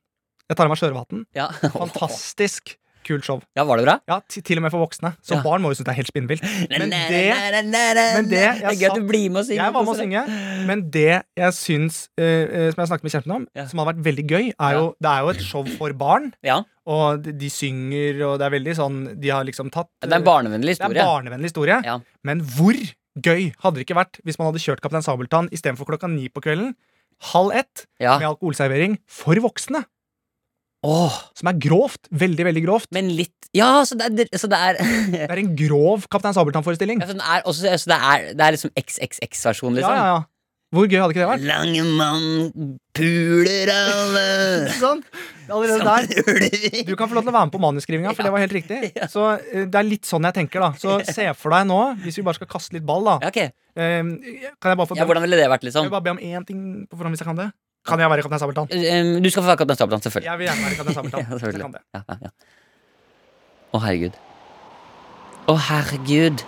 Speaker 2: Jeg tar av meg sjørøverhatten.
Speaker 3: Ja.
Speaker 2: Fantastisk kult show.
Speaker 3: ja, var det bra?
Speaker 2: Ja, ti- Til og med for voksne. Så
Speaker 3: Ja.
Speaker 2: barn må jo synes det er helt spinnvilt. Men
Speaker 3: Na, na,
Speaker 2: det-
Speaker 3: na, na, na, na,
Speaker 2: men det
Speaker 3: na.
Speaker 2: jeg
Speaker 3: Det er
Speaker 2: sa-
Speaker 3: gøy at du blir med og synger.
Speaker 2: Jeg var med å
Speaker 3: koser deg.
Speaker 2: synge, men det jeg syns, eh, eh, som jeg snakket med kjæresten om,
Speaker 3: Ja.
Speaker 2: som hadde vært veldig gøy, er jo Det er jo et show for barn,
Speaker 3: Ja,
Speaker 2: og de, de synger, og det er veldig sånn De har liksom tatt
Speaker 3: Det er en
Speaker 2: eh,
Speaker 3: barnevennlig
Speaker 2: det er en
Speaker 3: historie.
Speaker 2: barnevennlig historie.
Speaker 3: Ja.
Speaker 2: Men hvor gøy hadde det ikke vært hvis man hadde kjørt Kaptein Sabeltann istedenfor klokka ni på kvelden, halv ett,
Speaker 3: Ja.
Speaker 2: med alkoholservering for voksne?
Speaker 3: Ah. Åh,
Speaker 2: Som er grovt. Veldig, veldig grovt.
Speaker 3: men litt Ja, så det er, så det er,
Speaker 2: Det er en grov Kaptein Sabeltann-forestilling.
Speaker 3: ja, så det er, også, så det er, det er liksom XXX-versjon,
Speaker 2: Ja,
Speaker 3: liksom.
Speaker 2: ja, ja. Hvor gøy hadde ikke det vært?
Speaker 3: Lange mann puler alle
Speaker 2: Ikke sant? Allerede
Speaker 3: som
Speaker 2: der.
Speaker 3: puler.
Speaker 2: Du kan få lov til å være med på manusskrivinga, for det var helt riktig. Så eh, det er litt sånn jeg tenker, da. Så se for deg nå, hvis vi bare skal kaste litt ball, da.
Speaker 3: Ja, ok.
Speaker 2: Eh, Kan jeg bare få
Speaker 3: ja, hvordan ville det vært,
Speaker 2: Kan
Speaker 3: liksom?
Speaker 2: jeg bare be om én ting på forhånd, hvis jeg kan det? Kan jeg være Kaptein Sabeltann?
Speaker 3: Um, Du skal få være Kaptein Sabeltann, selvfølgelig.
Speaker 2: Jeg vil gjerne være Kaptein Sabeltann.
Speaker 3: Ja,
Speaker 2: hvis jeg
Speaker 3: selvfølgelig.
Speaker 2: kan det.
Speaker 3: Ja, ja, ja. Å, herregud. Å, herregud.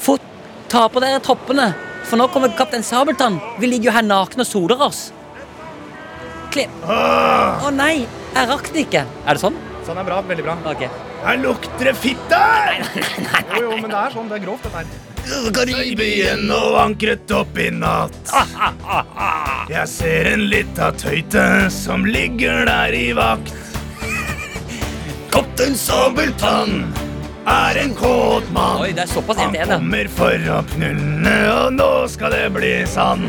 Speaker 3: Fort! Ta på dere toppene, for nå kommer Kaptein Sabeltann. Vi ligger jo her nakne og soler oss. Klim. Å nei, jeg rakk det ikke. Er det sånn?
Speaker 7: Sånn er bra. Veldig bra.
Speaker 3: Ok.
Speaker 2: Her lukter det fitte!
Speaker 7: Jo, jo, men det er sånn. Det er grovt, dette her.
Speaker 2: I byen og ankret opp i natt. Jeg ser en lita tøyte som ligger der i vakt. Kaptein Sabeltann er en kåt mann.
Speaker 3: Oi, det er såpass
Speaker 2: Han
Speaker 3: 1-1, ja.
Speaker 2: kommer for å knulle, og nå skal det bli sann.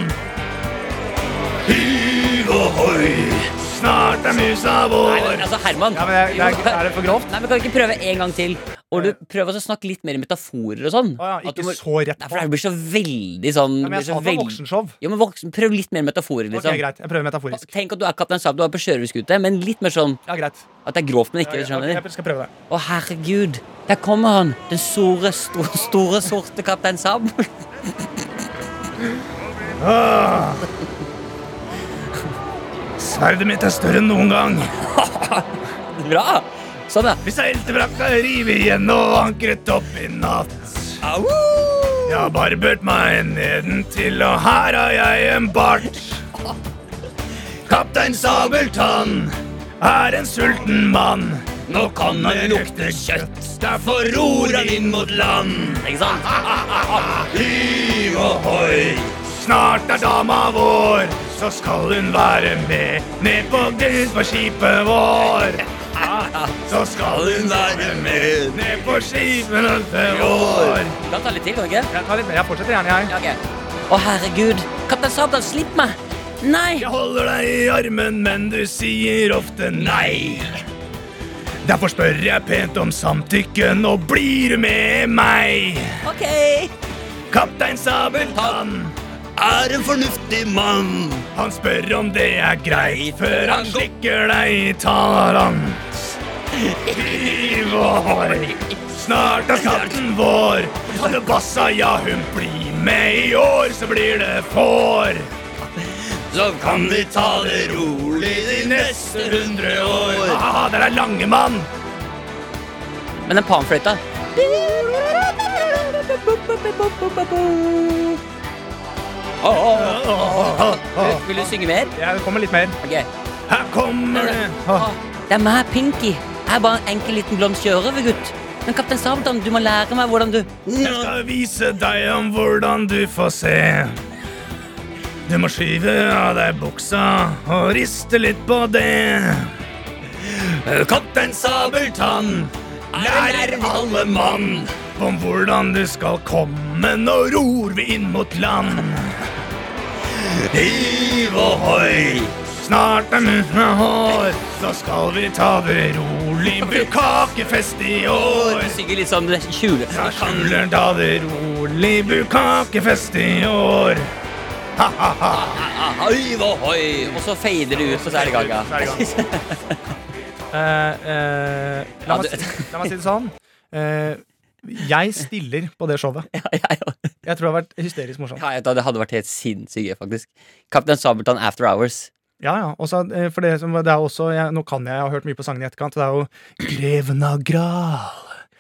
Speaker 2: Hyv og hoi, snart er musa
Speaker 3: Nei, men,
Speaker 2: vår.
Speaker 3: altså, Herman.
Speaker 7: Ja, men det er, det er, er det for grovt?
Speaker 3: Nei, men Kan vi ikke prøve en gang til? Og du prøver å snakke litt mer i metaforer og sånn.
Speaker 7: Å ja,
Speaker 3: At
Speaker 7: ikke
Speaker 3: du må-
Speaker 7: så rett
Speaker 3: Nei,
Speaker 7: på.
Speaker 3: for det blir så veldig sånn
Speaker 7: Ja, men jeg
Speaker 3: blir så
Speaker 7: sa det var
Speaker 3: veld-
Speaker 7: voksenshow.
Speaker 3: Jo, men voksen, Prøv litt mer metaforer,
Speaker 7: Ok,
Speaker 3: liksom.
Speaker 7: Greit. Jeg prøver metaforisk.
Speaker 3: Tenk at du er kaptein Saab, du er på sjørøverskute, men litt mer sånn
Speaker 7: Ja, greit.
Speaker 3: at det er grovt, men
Speaker 7: Ja,
Speaker 3: ikke.
Speaker 7: ja,
Speaker 3: skjønner du?
Speaker 7: Jeg skal prøve det.
Speaker 3: Å, herregud, der kommer han! Den store, sto, store, sorte kaptein Saab.
Speaker 2: Sverdet mitt er større enn noen gang.
Speaker 3: Bra! Sånn, ja.
Speaker 2: Vi seilte brakka rive igjen og ankret opp i natt.
Speaker 3: Au!
Speaker 2: Jeg har barbert meg nedentil, og her har jeg en bart. Kaptein Sabeltann er en sulten mann. Nå kan han lukte kjøtt, derfor ror han inn mot land.
Speaker 3: Ikke sant?
Speaker 2: Hiv ohoi, snart er dama vår, så skal hun være med ned på Grimsborgskipet vår. Ja, Så skal hun være med ned på skipet vår.
Speaker 3: Kan ta litt til, kan du ikke?
Speaker 7: Jeg tar litt mer. Jeg fortsetter gjerne, jeg.
Speaker 3: Ja, ok. Å, herregud, kaptein Saab, da, slipp meg! Nei!
Speaker 2: Jeg holder deg i armen, men du sier ofte nei. Derfor spør jeg pent om samtykke, nå blir du med meg.
Speaker 3: Ok!
Speaker 2: Kaptein Sabeltann er en fornuftig mann. Han spør om det er greit før han slikker deg i tarant. Hiv ohoi, snart er skatten vår. Bassa, ja, hun blir med i år, så blir det får. Så kan vi ta det rolig de neste hundre år. Ah, der er Langemann.
Speaker 3: Men den panfløyta Å, å, å, å, å. Du, Vil du synge mer?
Speaker 7: Jeg kommer litt mer.
Speaker 3: Ok.
Speaker 2: Ah. Her kommer det.
Speaker 7: Åh,
Speaker 3: Det er meg, Pinky. Jeg er bare en enkel liten blond sjørøvergutt. Men kaptein Sabeltann, du må lære meg hvordan du
Speaker 2: Jeg skal vise deg om hvordan du får se. Du må skyve av deg buksa og riste litt på det. Kaptein Sabeltann lærer alle mann om hvordan du skal komme. Nå ror vi inn mot land. Hiv ohoi, snart er munne hår. Så skal vi ta det rolig. Bruk kakefest i år.
Speaker 3: synger litt sånn kjule.
Speaker 2: Da handler da det rolig bukakefest i år.
Speaker 3: Ahoi, vohoi. Og så fader det ut, og så er det gaga.
Speaker 7: så er det i gang. Eh, eh, la,
Speaker 3: Ja,
Speaker 7: meg
Speaker 3: du-
Speaker 7: si, la meg si det sånn. Eh, jeg stiller på det showet. Jeg tror det har vært hysterisk morsomt.
Speaker 3: Ja, jeg vet, det hadde vært helt sinnssykt gøy, faktisk. Kaptein Sabeltann After Hours.
Speaker 7: Ja, ja. Også, eh, for det, som, det er også, jeg, nå kan jeg, jeg har hørt mye på sangene i etterkant. Det er jo Greven av Gral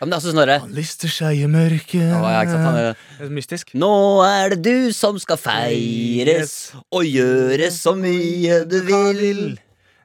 Speaker 3: Ja, men det er også Snorre.
Speaker 7: lister seg i mørket.
Speaker 3: Å, ja, ikke sant, han er...
Speaker 7: Det er Mystisk.
Speaker 3: Nå er det du som skal feires og gjøre så mye du vil.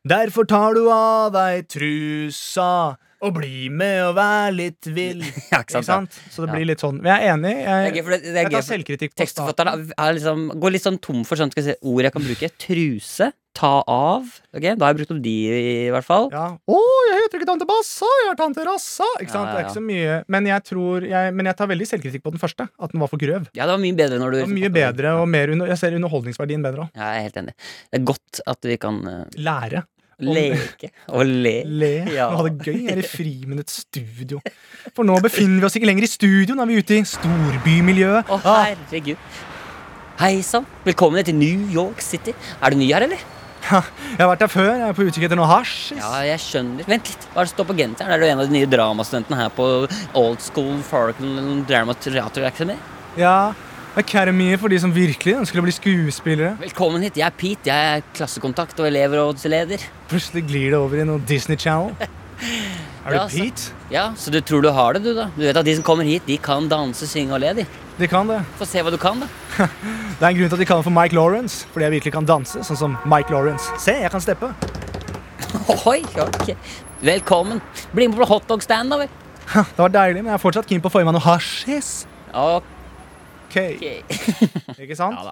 Speaker 7: Derfor tar du av deg trusa og bli med og vær litt vill.
Speaker 3: Ja, ikke sant,
Speaker 7: Så det
Speaker 3: Ja.
Speaker 7: blir litt sånn. Men jeg er enig.
Speaker 3: Det er gøy,
Speaker 7: Jeg,
Speaker 3: for det, det er
Speaker 7: jeg
Speaker 3: gøy
Speaker 7: tar
Speaker 3: for
Speaker 7: selvkritikk på starten.
Speaker 3: tekstforfatteren er- er liksom, går litt sånn tom for sånn, skal vi se, ord jeg kan bruke. Truse, ta av. Ok, Da har jeg brukt opp de, i hvert fall.
Speaker 7: Ja. Å, jeg heter ikke tante Bassa, jeg er tante Rassa. Ikke sant?
Speaker 3: Ja, ja,
Speaker 7: Det er ikke så mye Men jeg tror jeg, Men jeg tar veldig selvkritikk på den første. At den var for grøv.
Speaker 3: Ja, det var mye bedre når du
Speaker 7: Det var mye bedre, og mer under, Jeg ser underholdningsverdien bedre òg.
Speaker 3: Ja, jeg er helt enig. Det er godt at vi kan eh,
Speaker 7: Lære. Om-
Speaker 3: leke og le.
Speaker 7: Le
Speaker 3: Ja.
Speaker 7: og ha det gøy her i friminuttets studio. For nå befinner vi oss ikke lenger i studio, nå er vi ute i storbymiljøet.
Speaker 3: Å,
Speaker 2: Ah!
Speaker 3: herregud. Hei sann, velkommen til New York City. Er du ny her, eller?
Speaker 7: Jeg har vært der før, jeg er på utkikk etter noe hasjis.
Speaker 3: Ja, jeg skjønner. Vent litt, hva er det som står på genseren? Er du en av de nye dramastudentene her på Old School Farragon Drama Theater Academy?
Speaker 7: Ja, Academy for de som virkelig ønsker å bli skuespillere.
Speaker 3: Velkommen hit. Jeg er Pete. Jeg er klassekontakt og elevrådsleder.
Speaker 7: Plutselig glir det over i noe Disney Channel. Er
Speaker 3: Ja,
Speaker 7: det
Speaker 3: så-
Speaker 7: Pete?
Speaker 3: Ja, Så du tror du har det, du, da? Du vet at de som kommer hit, de kan danse, synge og le, de.
Speaker 2: De kan det.
Speaker 3: Få se hva du kan, da.
Speaker 2: Det er en grunn til at de kaller han for Mike Lawrence, fordi jeg virkelig kan danse, sånn som Mike Lawrence. Se, jeg kan steppe.
Speaker 3: Oi, ok. Velkommen. Bli med på hotdog-stand, da vel.
Speaker 2: Det var deilig, men jeg er fortsatt keen på å få i meg noe hasjis.
Speaker 3: Ok.
Speaker 2: Okay. Ikke sant?
Speaker 3: Ja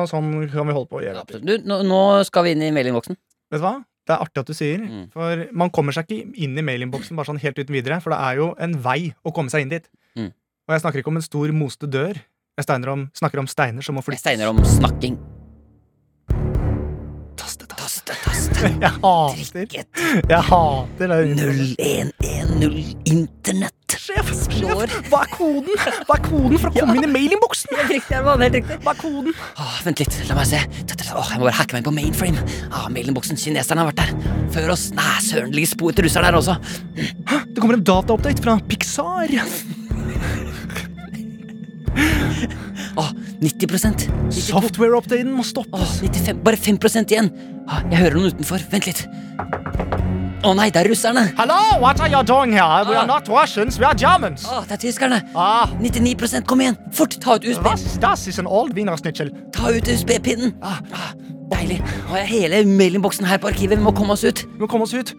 Speaker 2: Og sånn kan vi holde på å gjøre. det.
Speaker 3: Absolutt. Du, nå, nå skal vi inn i mailingboksen.
Speaker 2: Vet du hva? Det er artig at du sier,
Speaker 3: Mm.
Speaker 2: for man kommer seg ikke inn i mailinnboksen bare sånn helt uten videre, for det er jo en vei å komme seg inn dit.
Speaker 3: Mm.
Speaker 2: Og jeg snakker ikke om en stor moste dør, jeg steiner om, snakker om steiner som må
Speaker 3: Jeg
Speaker 2: flyttes.
Speaker 3: steiner om snakking.
Speaker 2: Taste, taste.
Speaker 3: Taste, taste,
Speaker 2: Jeg hater,
Speaker 3: drikke,
Speaker 2: jeg hater det.
Speaker 3: 0110 Internett.
Speaker 2: Sjef,
Speaker 3: Slår.
Speaker 2: sjef, hva er koden? Hva er koden for å komme inn i mailinnboksen?
Speaker 3: Helt riktig, Herman. Helt riktig.
Speaker 2: Hva er koden?
Speaker 3: Åh, vent litt, la meg se. Ta, ta, ta. Åh, jeg må bare hacke meg inn på mainframe. Ah, Mailingboksen. Kineserne har vært der. Før oss. Nei, søren, det ligger spor etter russerne her også.
Speaker 2: Det kommer en dataoppdate fra Pixar.
Speaker 3: Åh, 90
Speaker 2: Software-updaten må
Speaker 3: Åh,
Speaker 2: stoppes.
Speaker 3: 95, bare 5 igjen. Åh, jeg hører noen utenfor. Vent litt. Å nei, det er russerne.
Speaker 2: Hello, what are you doing here? We
Speaker 3: Ah.
Speaker 2: are not Russians, we are Germans.
Speaker 3: Åh, det er tyskerne.
Speaker 2: Ah,
Speaker 3: 99 kom igjen. Fort, ta ut USB.
Speaker 2: was das is an old wienersnitchel.
Speaker 3: Ta ut USB-pinnen. Ah, ah, deilig. Åh, jeg har hele mailingboksen her på arkivet. Vi må komme oss ut.
Speaker 2: Vi må komme oss ut.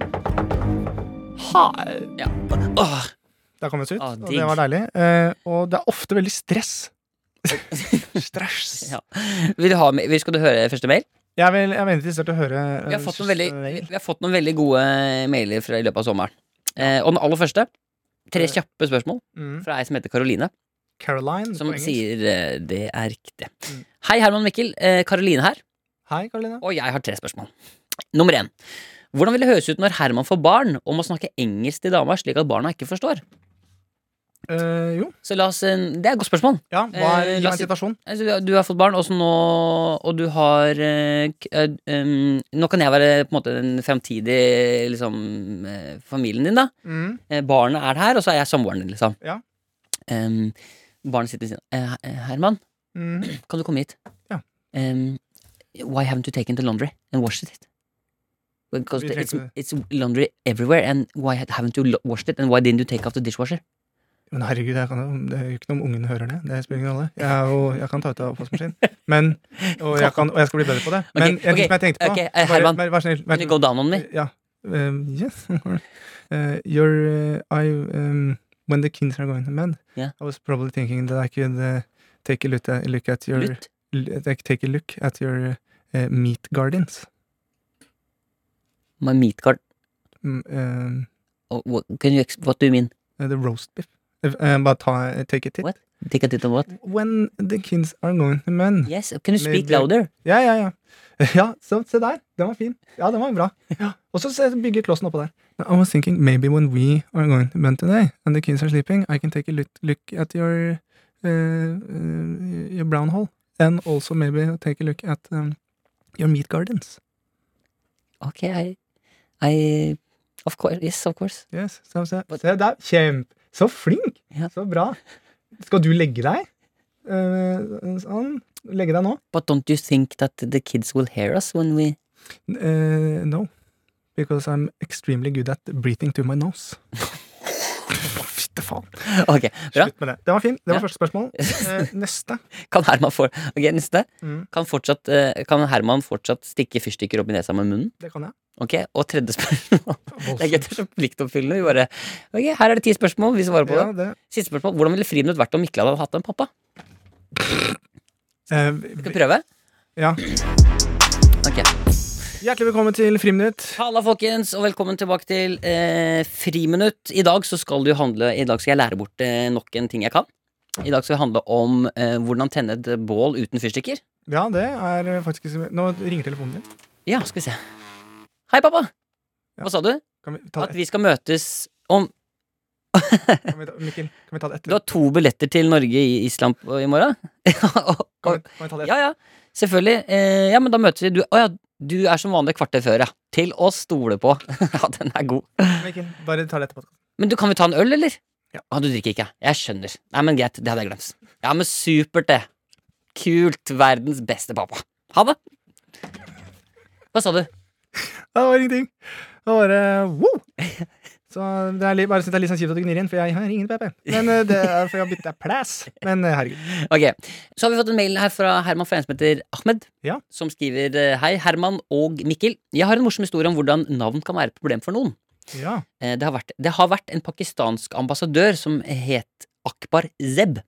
Speaker 2: Ha.
Speaker 3: Ja. Åh,
Speaker 2: Da kom vi oss ut,
Speaker 3: Ah,
Speaker 2: og
Speaker 3: digg.
Speaker 2: det var deilig. Eh, og det er ofte veldig stress. stress.
Speaker 3: Ja. vil du ha, med- skal du høre første mail?
Speaker 2: Jeg, vil, jeg venter til å høre eh,
Speaker 3: Vi har, fått noen
Speaker 2: siste
Speaker 3: veldig,
Speaker 2: mail.
Speaker 3: vi har fått noen veldig gode mailer fra i løpet av sommeren. Eh, og den aller første, tre kjappe spørsmål
Speaker 2: Mm.
Speaker 3: fra ei som heter Karoline,
Speaker 2: Caroline
Speaker 3: som
Speaker 2: på engelsk.
Speaker 3: sier eh, det er riktig.
Speaker 2: Mm.
Speaker 3: Hei, Herman Mikkel. Eh, Karoline her,
Speaker 2: Hei, Caroline.
Speaker 3: og jeg har tre spørsmål. Nummer én. Hvordan vil det høres ut når Herman får barn og må snakke engelsk til dama slik at barna ikke forstår?
Speaker 2: Eh, jo,
Speaker 3: Så la oss, eh, Det er et godt spørsmål.
Speaker 2: ja, hva er
Speaker 3: Eh,
Speaker 2: gi
Speaker 3: la
Speaker 2: meg
Speaker 3: oss
Speaker 2: en situasjon?
Speaker 3: Altså, du har- du har fått barn, og så nå Og du har eh, k- eh, um, Nå kan jeg være på en måte den fremtidige liksom, eh, familien din, da.
Speaker 2: Mm.
Speaker 3: Eh, Barnet er her, og så er jeg samboeren din, liksom.
Speaker 2: Ja.
Speaker 3: Em, barnet sitter ved siden av. Eh, eh, Herman,
Speaker 2: Mm.
Speaker 3: kan du komme hit?
Speaker 2: Ja.
Speaker 3: Em, why haven't you taken the laundry and washed it? Because
Speaker 2: Vi
Speaker 3: the- it's,
Speaker 2: trengte
Speaker 3: it's laundry everywhere, and why haven't you lo- washed it? And why didn't you take off the dishwasher?
Speaker 2: Men herregud, jeg kan, jo- det er jo ikke noe om ungene hører det. Det spiller ingen rolle. Jeg, er jo, jeg kan ta ut av oppvaskmaskinen. Men- Og, jeg kan- og jeg skal bli bedre på det. Men
Speaker 3: Ok,
Speaker 2: en ting
Speaker 3: ok,
Speaker 2: som jeg tenkte på
Speaker 3: ok, eh, Herman,
Speaker 2: bare, Vær vær snill. Vær
Speaker 3: Can you go
Speaker 2: snill.
Speaker 3: down on me?
Speaker 2: Ja. Um, yes. uh, your, uh, I, um, when the kids are going to bed,
Speaker 3: Yeah.
Speaker 2: I was probably thinking that I could uh, take a look at, look at your
Speaker 3: Lutt.
Speaker 2: l- like, take a look at your uh, meat gardens.
Speaker 3: My meat guard.
Speaker 2: Mm, um,
Speaker 3: Oh, what, can you ex- what do you mean?
Speaker 2: uh, the roast beef. If, um, but ta, take a tip.
Speaker 3: What? Take a tit on what?
Speaker 2: When the kids are going to bed.
Speaker 3: Yes, can you speak
Speaker 2: Maybe-
Speaker 3: louder?
Speaker 2: Ja, ja, ja. Ja, så, se der. Den var fin. Ja, den var bra. Og så se- bygger klossen oppå der. I was thinking maybe when we are going to bed today, and the kids are sleeping, I can take a look, look at your, uh, uh, your brown hole, and also maybe take a look at um, your meat gardens.
Speaker 3: Okay, I, I, of course, yes, of course.
Speaker 2: Yes, så, se, se der. Kjempe. Så flink!
Speaker 3: Ja.
Speaker 2: Så bra. Skal du legge deg? Eh, sånn. Legge deg nå?
Speaker 3: But don't you think that the kids will hear us when we?
Speaker 2: Eh, no. Because I'm extremely good at breathing to my nose. Fytte faen.
Speaker 3: Okay, bra.
Speaker 2: Slutt med det. Det var fint. Det var
Speaker 3: Ja.
Speaker 2: første spørsmål. Eh, neste.
Speaker 3: Kan Herman for, ok, neste.
Speaker 2: Mm.
Speaker 3: Kan, fortsatt, eh, kan Herman fortsatt stikke fyrstikker opp i nesa med munnen?
Speaker 2: Det kan jeg.
Speaker 3: Ok, og tredje spørsmål. Det er gøy, det er så pliktoppfyllende. Vi bare, ok, her er det ti spørsmål, vi svarer på
Speaker 2: Ja,
Speaker 3: det.
Speaker 2: det.
Speaker 3: Siste spørsmål, hvordan ville friminutt vært om Mikkel hadde hatt en pappa?
Speaker 2: Eh,
Speaker 3: Skal
Speaker 2: vi-
Speaker 3: vi prøve?
Speaker 2: ja.
Speaker 3: Ok.
Speaker 2: Hjertelig velkommen til Friminutt.
Speaker 3: Halla, folkens, og velkommen tilbake til eh, Friminutt. I dag så skal du handle I dag skal jeg lære bort eh, nok en ting jeg kan. I dag skal det handle om eh, hvordan tenne et bål uten fyrstikker.
Speaker 2: Ja, det er faktisk ikke så Nå ringer telefonen din.
Speaker 3: Ja, skal vi se. Hei, pappa!
Speaker 2: Ja.
Speaker 3: Hva sa du?
Speaker 2: Kan vi ta
Speaker 3: At
Speaker 2: det
Speaker 3: vi skal møtes om
Speaker 2: kan vi ta, Mikkel, kan vi ta det etter?
Speaker 3: Du har to billetter til Norge i Island på- i morgen? Og-
Speaker 2: Kan vi,
Speaker 3: og-
Speaker 2: kan vi ta det etter?
Speaker 3: ja, ja. Selvfølgelig. Eh, ja, men da møtes vi. Du, å ja, du er som vanlig et kvarter før, ja. Til å stole på. ja, den er god.
Speaker 2: Mikkel, bare ta det etterpå.
Speaker 3: Men du, kan vi ta en øl, eller?
Speaker 2: Ja.
Speaker 3: Ah, du drikker ikke? Jeg skjønner. Nei, men greit, det hadde jeg glemt. Ja, men supert, det. Kult. Verdens beste pappa. Ha det. Hva sa du?
Speaker 2: Ja, Det var ingenting. Det var bare wow! Så det er litt, bare synes det er litt sånn kjipt at du gnir inn, for jeg har ingen PP. Men eh, det er for jeg har bytta plass. Men eh, herregud.
Speaker 3: Ok, Så har vi fått en mail her fra Herman fra en som heter Ahmed.
Speaker 2: Ja.
Speaker 3: Som skriver eh, Hei, Herman og Mikkel. Jeg har en morsom historie om hvordan navn kan være et problem for noen.
Speaker 2: Ja.
Speaker 3: Eh, Det har vært, det har vært en pakistansk ambassadør som het Akbar Zeb.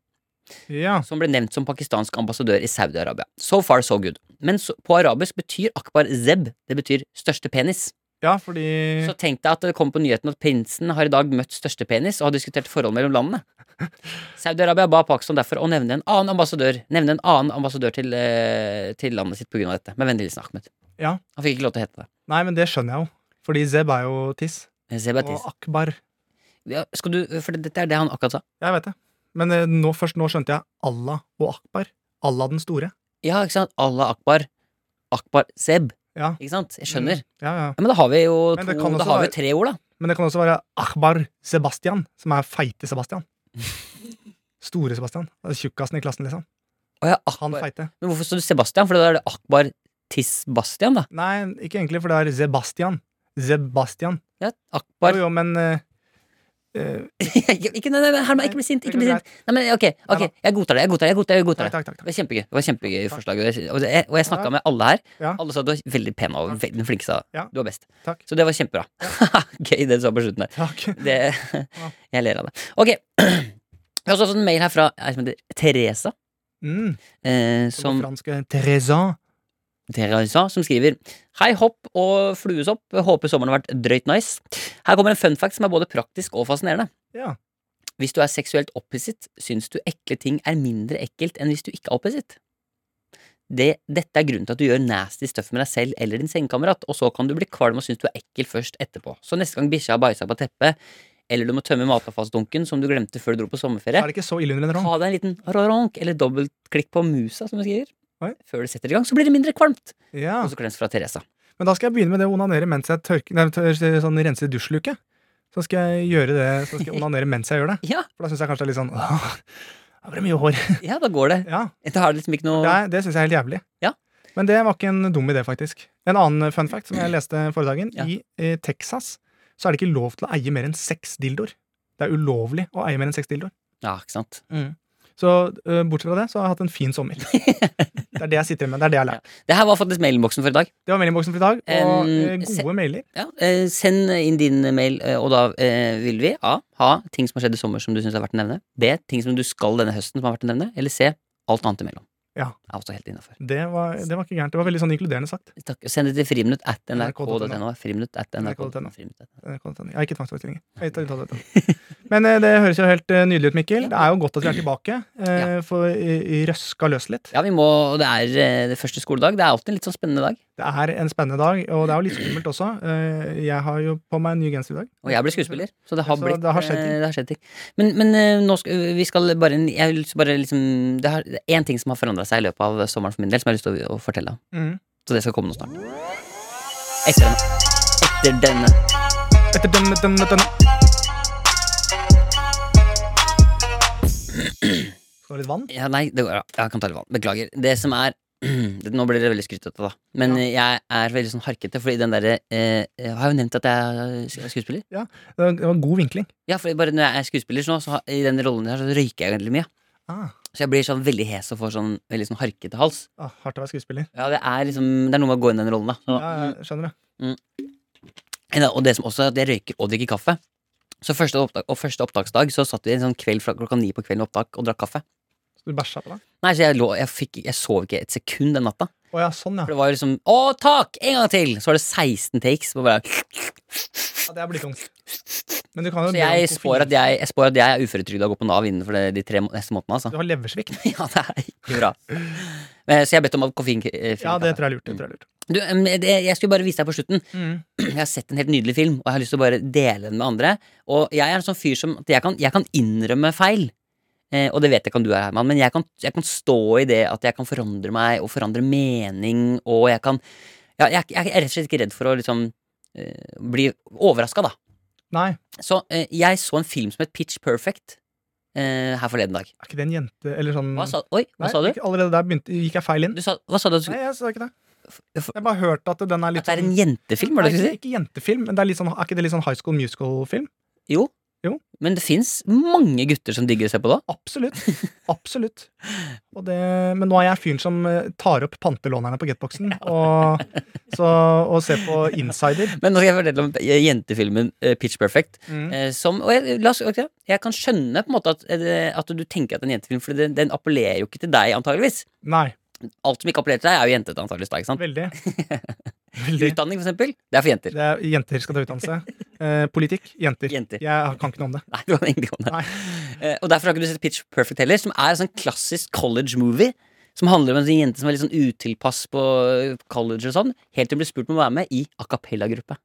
Speaker 2: ja.
Speaker 3: som ble nevnt som pakistansk ambassadør i Saudi-Arabia. So far, so good. Men så, på arabisk betyr akbar zeb det betyr største penis.
Speaker 2: Ja, fordi
Speaker 3: Så tenk deg at det kom på nyheten at prinsen har i dag møtt største penis og har diskutert forhold mellom landene. Saudi-Arabia ba Pakistan derfor å nevne en annen ambassadør Nevne en annen ambassadør til, eh, til landet sitt pga. dette. Med vennlig hilsen Ahmed.
Speaker 2: Ja.
Speaker 3: Han fikk ikke lov til å hete det. Eh,
Speaker 2: Nei, men det skjønner jeg jo. Fordi Zeb er jo tiss.
Speaker 3: Zeb er tiss.
Speaker 2: Og Akbar.
Speaker 3: Ja, skal du, for dette er det han akkurat sa.
Speaker 2: Jeg vet det. Men eh, nå, først nå skjønte jeg Allah og Akbar. Allah den store.
Speaker 3: Ja, ikke sant? Allah akbar. Akbar zeb.
Speaker 2: Ja.
Speaker 3: Ikke sant? Jeg skjønner.
Speaker 2: Ja, ja.
Speaker 3: Ja, men da har vi jo
Speaker 2: Mm. Men
Speaker 3: to,
Speaker 2: det kan også
Speaker 3: da har vi
Speaker 2: være-
Speaker 3: jo tre ord, da.
Speaker 2: Men det kan også være Akbar Sebastian, som er feite Sebastian. Store Sebastian. Tjukkasen i klassen, liksom.
Speaker 3: Å ja,
Speaker 2: Han
Speaker 3: Akbar.
Speaker 2: feite.
Speaker 3: Men hvorfor står det Sebastian? For da er det Akbar Tiss-Bastian, da.
Speaker 2: Nei, ikke egentlig, for det er Sebastian. Sebastian.
Speaker 3: Ja,
Speaker 2: Jo,
Speaker 3: Akbar
Speaker 2: jo, men eh, eh,
Speaker 3: ikke, ikke, nei, nei, Herman, ikke bli sint. Ikke bli sint. Nei, men ok, ok,
Speaker 2: Ja, da.
Speaker 3: jeg godtar det. Jeg godtar det. jeg godtar det, jeg godtar
Speaker 2: Takk,
Speaker 3: det.
Speaker 2: takk, takk.
Speaker 3: Det var kjempegøy det var kjempegøy forslag. og jeg- Og jeg, og jeg snakka med alle her.
Speaker 2: Ja.
Speaker 3: Alle sa du var veldig pen og veldig flink. sa
Speaker 2: Ja.
Speaker 3: Du var best.
Speaker 2: Takk.
Speaker 3: Så det var kjempebra. Gøy det du sa på slutten der.
Speaker 2: takk.
Speaker 3: Det, jeg ler av det. Ok. Vi har også fått en mail her fra ei som heter Teresa.
Speaker 2: Mm.
Speaker 3: Eh,
Speaker 2: Som
Speaker 3: som
Speaker 2: franske Teresa.
Speaker 3: Teresa, som skriver Hei, hopp og fluesopp. Håper sommeren har vært drøyt nice. Her kommer en fun fact som er både praktisk og fascinerende.
Speaker 2: Ja.
Speaker 3: Hvis du er seksuelt opphisset, syns du ekle ting er mindre ekkelt enn hvis du ikke er opphisset. Det, dette er grunnen til at du gjør nasty stuff med deg selv eller din sengekamerat, og så kan du bli kvalm og synes du er ekkel først etterpå. Så neste gang bikkja har bæsja på teppet, eller du må tømme matavfallsdunken som du glemte før du dro på sommerferie,
Speaker 2: Er det ikke så ille under en rong?
Speaker 3: Ta deg en liten raronk eller dobbeltklikk på musa, som du skriver.
Speaker 2: Oi.
Speaker 3: Før du setter i gang, så blir det mindre kvalmt.
Speaker 2: Ja.
Speaker 3: Konsekvens fra Teresa.
Speaker 2: Men da skal jeg begynne med det å onanere mens jeg tørker Nei, tør, sånn rense dusjluke. Så skal jeg gjøre det Så skal jeg onanere mens jeg gjør det.
Speaker 3: Ja,
Speaker 2: For da syns jeg kanskje det er litt sånn Åh, her ble det mye hår.
Speaker 3: ja, da går det.
Speaker 2: Ja,
Speaker 3: Da har det liksom ikke noe
Speaker 2: Det, er- det syns jeg er helt jævlig.
Speaker 3: Ja.
Speaker 2: Men det var ikke en dum idé, faktisk. En annen eh, fun fact som jeg leste forrige dagen.
Speaker 3: Ja.
Speaker 2: I eh, Texas så er det ikke lov til å eie mer enn seks dildoer. Det er ulovlig å eie mer enn seks dildoer.
Speaker 3: Ja, ikke sant.
Speaker 2: Så eh, bortsett fra det, så har jeg hatt en fin sommer. det er det jeg sitter med. Det er det jeg har lært.
Speaker 3: Det her var faktisk mailinboksen for i dag.
Speaker 2: Det var meldingboksen for i dag, og
Speaker 3: Um,
Speaker 2: eh,
Speaker 3: se-
Speaker 2: gode mailer.
Speaker 3: Ja, eh, send inn din mail, eh, og da eh, vil vi A. Ha ting som har skjedd i sommer som du syns er verdt å nevne. B. Ting som du skal denne høsten som har vært å nevne. Eller C. Alt annet imellom.
Speaker 2: Ja.
Speaker 3: Er også helt innafor.
Speaker 2: Det var, det var ikke gærent. Det var veldig sånn inkluderende sagt.
Speaker 3: Send det til friminutt at nrk.no.
Speaker 2: NRK.no.
Speaker 3: Friminutt at nrk.no.
Speaker 2: NRK.no. Eh, kan du ta den? Jeg har ikke tvangsforestillinger. Jeg tar- tar dette. Men eh, det høres jo helt eh, nydelig ut, Mikkel. Det er jo godt at vi er tilbake. eh, For eh, røska løs litt.
Speaker 3: Ja, vi må Det er eh, det første skoledag. Det er alltid en litt sånn spennende dag.
Speaker 2: Det er en spennende dag, og det er jo litt skummelt også. Eh, Jeg har jo på meg en ny genser i dag.
Speaker 3: Og jeg ble skuespiller, så det har
Speaker 2: Så
Speaker 3: blitt
Speaker 2: det har skjedd
Speaker 3: eh,
Speaker 2: ting.
Speaker 3: det har skjedd ting. Men, men eh, nå skal vi skal bare Jeg har lyst til bare liksom Det har- det er én ting som har forandra seg i løpet av sommeren for min del, som jeg har lyst til å, å fortelle om.
Speaker 2: Mhm.
Speaker 3: Så det skal komme nå snart. Etter denne. Etter denne.
Speaker 2: Etter den, den, den, den. Skal du ha litt vann?
Speaker 3: Ja, nei, det går, ja, jeg kan ta litt vann. Beklager. Det som er det, Nå blir det veldig skrytete, da. Men eh, jeg er veldig sånn harkete, fordi den derre eh, Jeg har jo nevnt at jeg er skuespiller.
Speaker 2: Det var- Det var god vinkling.
Speaker 3: Ja, for bare når jeg er skuespiller sånn, så har- i den rollen der, så røyker jeg veldig mye.
Speaker 2: Ah,
Speaker 3: Så jeg blir sånn veldig hes og får sånn veldig sånn harkete hals.
Speaker 2: ah, hardt å være skuespiller.
Speaker 3: Ja, det er liksom Det er noe med å gå inn i den rollen, da. Så,
Speaker 2: Ja, jeg skjønner det.
Speaker 3: Ja, Og det som også er at jeg røyker og drikker kaffe. Så første, opptak, og første opptaksdag så satt vi en sånn kveld fra klokka ni på kvelden opptak og drakk kaffe.
Speaker 2: Så du bæsja på deg?
Speaker 3: Nei, så jeg, lå, jeg, fikk, jeg sov ikke et sekund den natta.
Speaker 2: Å ja, sånn, ja.
Speaker 3: For det var jo liksom Å, tak! En gang til! Så var det 16 takes. På bare,
Speaker 2: ja det er blytungt. Men du kan jo
Speaker 3: så
Speaker 2: be om
Speaker 3: jeg
Speaker 2: koffein.
Speaker 3: spår, at jeg, jeg spår at jeg er uføretrygda og går på Nav innenfor det, de tre må- neste månedene, altså.
Speaker 2: Du har leversvikt.
Speaker 3: Ja, det er ikke bra. Men, så jeg har bedt om koffein. eh, fri
Speaker 2: Ja, det
Speaker 3: kaffe.
Speaker 2: tror jeg er lurt. Det tror jeg er lurt.
Speaker 3: Du, em, det, jeg skulle bare vise deg på slutten.
Speaker 2: Mm.
Speaker 3: Jeg har sett en helt nydelig film, og jeg har lyst til å bare dele den med andre. Og jeg er en sånn fyr som at jeg kan, jeg kan innrømme feil. Eh, og det vet jeg kan du er, Herman, men jeg kan, jeg kan stå i det at jeg kan forandre meg og forandre mening, og jeg kan ja, jeg, jeg er rett og slett ikke redd for å liksom eh, bli overraska, da.
Speaker 2: Nei,
Speaker 3: Så eh, jeg så en film som het Pitch Perfect eh, her forleden dag.
Speaker 2: er ikke det en jente Eller sånn
Speaker 3: Hva sa, oi, hva
Speaker 2: Nei,
Speaker 3: sa du?
Speaker 2: ikke- Allerede der begynte, gikk jeg feil inn.
Speaker 3: du sa, hva sa du? at du-
Speaker 2: Nei, jeg sa ikke det. Jeg har bare hørt at den er litt sånn-
Speaker 3: At det er en jentefilm, var det det du
Speaker 2: Nei,
Speaker 3: skulle si?
Speaker 2: Ikke jentefilm, men det er, litt sånn, er ikke det litt sånn high school musical-film?
Speaker 3: Jo.
Speaker 2: Jo.
Speaker 3: Men det fins mange gutter som digger å se på det.
Speaker 2: Absolutt. Absolutt. Og det, men nå er jeg fyren som eh, tar opp pantelånerne på Getboxen og, så, og ser på Insider.
Speaker 3: Men nå skal jeg fortelle om eh, jentefilmen eh, Pitch Perfect.
Speaker 2: Mm.
Speaker 3: eh, Som, og jeg, la oss, ok, jeg kan skjønne på en måte at, eh, at du tenker at det er en jentefilm, for den, den appellerer jo ikke til deg, antageligvis.
Speaker 2: Nei,
Speaker 3: Alt som ikke appellerer til deg, er jo jentete, antageligvis. Da, ikke sant?
Speaker 2: veldig. Veldig.
Speaker 3: Utdanning, for eksempel, det er for jenter.
Speaker 2: Det er, jenter skal ta utdannelse. Eh, politikk jenter.
Speaker 3: Jenter.
Speaker 2: Jeg kan ikke noe om det.
Speaker 3: Nei, du kan egentlig ikke om det.
Speaker 2: Nei.
Speaker 3: Eh, Og derfor har ikke du sett Pitch Perfect heller, som er en sånn klassisk college movie. Som handler om en sånn jente som er litt sånn utilpass på eh, college og sånn. Helt til hun blir spurt om å være med i a cappella-gruppe.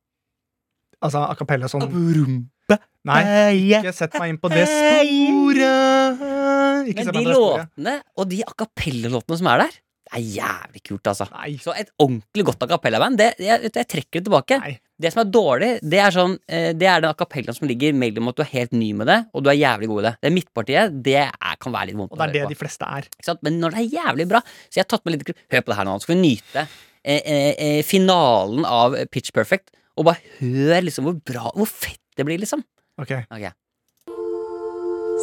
Speaker 2: Altså a cappella sånn Nei,
Speaker 3: Nei,
Speaker 2: ikke sett meg inn på det sporet. Ikke
Speaker 3: Eh, Men
Speaker 2: sett
Speaker 3: de
Speaker 2: meg på det sporet.
Speaker 3: låtene og de a cappella-låtene som er der, det er jævlig kult, altså.
Speaker 2: Nei.
Speaker 3: Så eh. et ordentlig godt a cappella-band, det, jeg, vet du, jeg trekker det tilbake.
Speaker 2: Nei.
Speaker 3: Det som er dårlig, det er, sånn, eh, det er den a cappellaen som ligger mellom at du er helt ny med det, og du er jævlig god i det. Det midtpartiet, det er, kan være litt vondt
Speaker 2: Og det er det
Speaker 3: på.
Speaker 2: de fleste er.
Speaker 3: Ikke sant? Men når det er jævlig bra Så jeg har tatt med litt Hør på det her nå, så skal vi nyte eh, eh, eh, finalen av Pitch Perfect. Og bare hør liksom hvor bra Hvor fett det blir, liksom.
Speaker 2: Ok.
Speaker 3: Ok,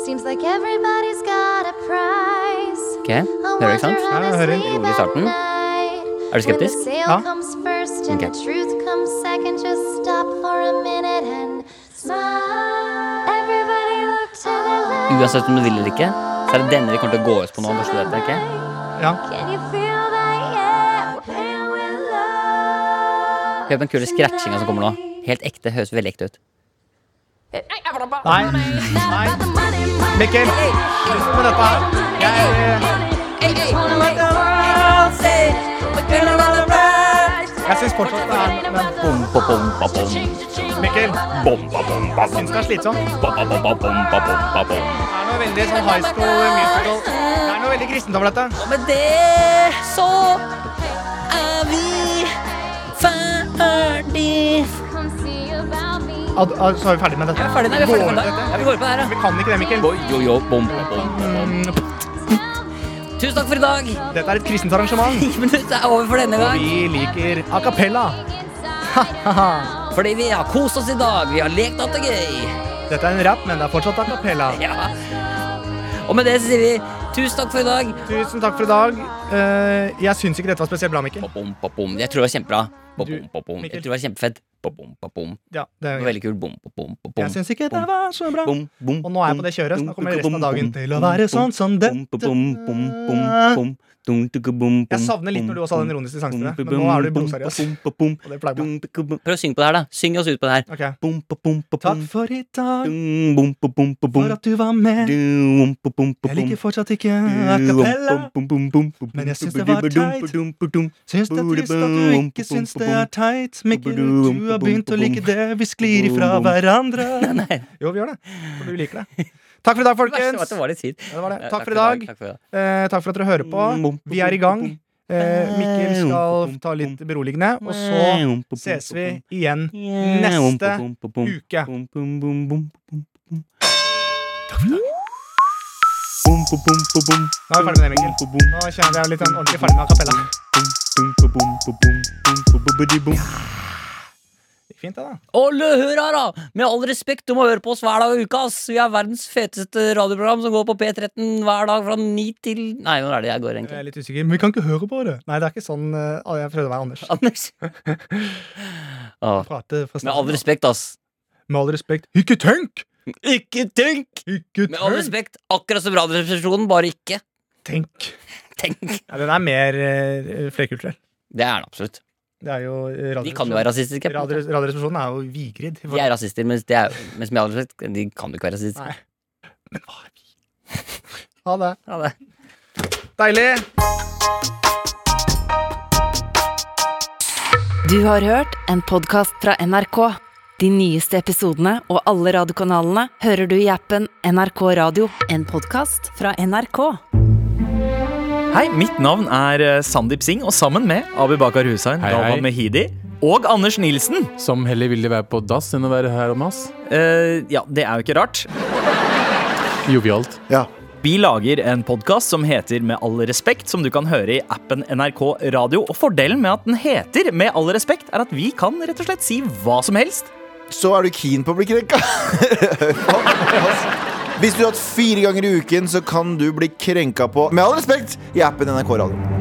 Speaker 8: Seems like everybody's got a prize.
Speaker 3: ok, Hører du, ikke sant?
Speaker 2: Ja, jeg hører.
Speaker 3: Rolig i starten. Er du skeptisk?
Speaker 2: Ja.
Speaker 8: Ja.
Speaker 3: Ok. Uansett om du vil eller ikke, så er det denne vi kommer til å gå ut på nå. Bare så du vet det, ok?
Speaker 2: Ja.
Speaker 3: Hør på den kule scratchinga som kommer nå. Helt ekte. Høres veldig ekte ut.
Speaker 2: Nei. Nei. Mikkel, slutt med dette her. Jeg, eh, jeg syns fortsatt det er men
Speaker 3: Bompa, bompa, bom.
Speaker 2: Mikkel,
Speaker 4: Bomba, bomba,
Speaker 2: syns det er slitsomt.
Speaker 4: bomba, bomba, bomba, bomba, bomba.
Speaker 2: Det er noe veldig sånn high school musical. Det er noe veldig kristent over dette.
Speaker 3: Og med det så er vi ferdig.
Speaker 2: Ad, ad, så er vi ferdig med dette.
Speaker 3: Jeg er ferdig, nei, vi er ferdig for i dag. Ja, vi går ut på det her, ja.
Speaker 2: Vi kan ikke det, Mikkel.
Speaker 3: Oi, jo, jo, bom, bom, bom. Tusen takk for i dag.
Speaker 2: Dette er et kristent arrangement.
Speaker 3: Ti minutter er over for denne gang.
Speaker 2: Vi liker a cappella.
Speaker 3: Fordi vi har kost oss i dag. Vi har lekt og hatt det gøy.
Speaker 2: Dette er en rap, men det er fortsatt a cappella.
Speaker 3: Ja. Og med det så sier vi tusen takk for i dag.
Speaker 2: Tusen takk for i dag. Eh, Jeg syns ikke dette var spesielt bra, Mikkel.
Speaker 3: Bom, bom, bom. Jeg tror det var kjempebra. Bom,
Speaker 2: Du,
Speaker 3: bom, bom, bom.
Speaker 2: Mikkel.
Speaker 3: Jeg tror det var kjempefett. Bom, bom, bom, bom.
Speaker 2: Ja, det
Speaker 3: Det var veldig kult. Bom, bom, bom, bom, bom.
Speaker 2: Jeg syns ikke det var så bra.
Speaker 4: Bom, bom,
Speaker 2: Og nå er jeg på det kjøret, så nå kommer resten av dagen til å være sånn som dette. Jeg savner litt når du også hadde en ironisk distanse til det, men nå er du blodseriøs. Og det pleier meg.
Speaker 3: Prøv å synge på det her, da. Syng oss ut på det her.
Speaker 2: Ok. Takk
Speaker 4: Takk
Speaker 2: for i dag, for at du var med. Jeg liker fortsatt ikke a cappella.
Speaker 4: Men jeg syns det var teit.
Speaker 2: Syns det er trist at du ikke syns det er teit. Mikkel, du har begynt å like det. Vi sklir ifra hverandre. Jo, vi gjør det. For du liker det. Takk for i dag,
Speaker 3: Det verste var
Speaker 2: folkens.
Speaker 3: at det var litt fint.
Speaker 2: Ja, det var det.
Speaker 3: Ja,
Speaker 2: Takk for i dag.
Speaker 3: Takk for i dag.
Speaker 2: Eh, takk for at dere hører på. Vi er i gang. Eh, Mikkel skal ta litt beroligende, og så ses vi igjen neste uke. Nå er vi ferdig med det, Mikkel. Nå kjenner jeg litt sånn ordentlig ferdig med a cappella. Gikk Fint, det, da.
Speaker 3: Alle hør her, da! Med all respekt, du må høre på oss hver dag i uka. ass. Vi er verdens feteste radioprogram som går på P13 hver dag fra 9 til Nei, hvor er det jeg går,
Speaker 2: Jeg
Speaker 3: egentlig?
Speaker 2: er litt usikker, men vi kan ikke høre på det. Nei, det er ikke sånn eh, Jeg prøvde å være Anders.
Speaker 3: Anders? Åh.
Speaker 2: Prate fra starten
Speaker 3: Med all
Speaker 2: av.
Speaker 3: respekt, ass.
Speaker 2: Med all respekt. Ikke tenk!
Speaker 3: Ikke tenk!
Speaker 2: Ikke
Speaker 3: Med all
Speaker 2: tenk!
Speaker 3: respekt, akkurat som Radioresepsjonen, bare ikke
Speaker 2: tenk.
Speaker 3: tenk.
Speaker 2: Ja, den er mer eh, flerkulturell.
Speaker 3: Det er den absolutt.
Speaker 2: Det er jo eh,
Speaker 3: De kan jo være rasistiske. på en måte.
Speaker 2: Radio- Radioresepsjonen er jo Vigrid.
Speaker 3: De er rasister, mens, det er, mens med all respekt, de kan jo ikke være rasister.
Speaker 2: Nei. Ha det.
Speaker 3: Ha det.
Speaker 2: Deilig!
Speaker 1: Du har hørt en podkast fra NRK. De nyeste episodene og alle radiokanalene hører du i appen NRK Radio. En podkast fra NRK.
Speaker 9: Hei, mitt navn er eh, Sandeep Singh, og sammen med Abibakar Hussain,
Speaker 10: Hei,
Speaker 9: Galvan
Speaker 10: hei.
Speaker 9: Mehidi og Anders Nilsen.
Speaker 10: Som heller ville være på dass enn å være her om oss.
Speaker 9: Eh, ja, det er jo ikke rart.
Speaker 10: Jovialt.
Speaker 11: Ja,
Speaker 9: Vi lager en podkast som heter Med all respekt, som du kan høre i appen NRK Radio. Og fordelen med at den heter Med all respekt, er at vi kan rett og slett si hva som helst.
Speaker 11: Så er du keen på å bli krenka? Hvis du har hatt fire ganger i uken, så kan du bli krenka på, med all respekt, i appen NRK Radio.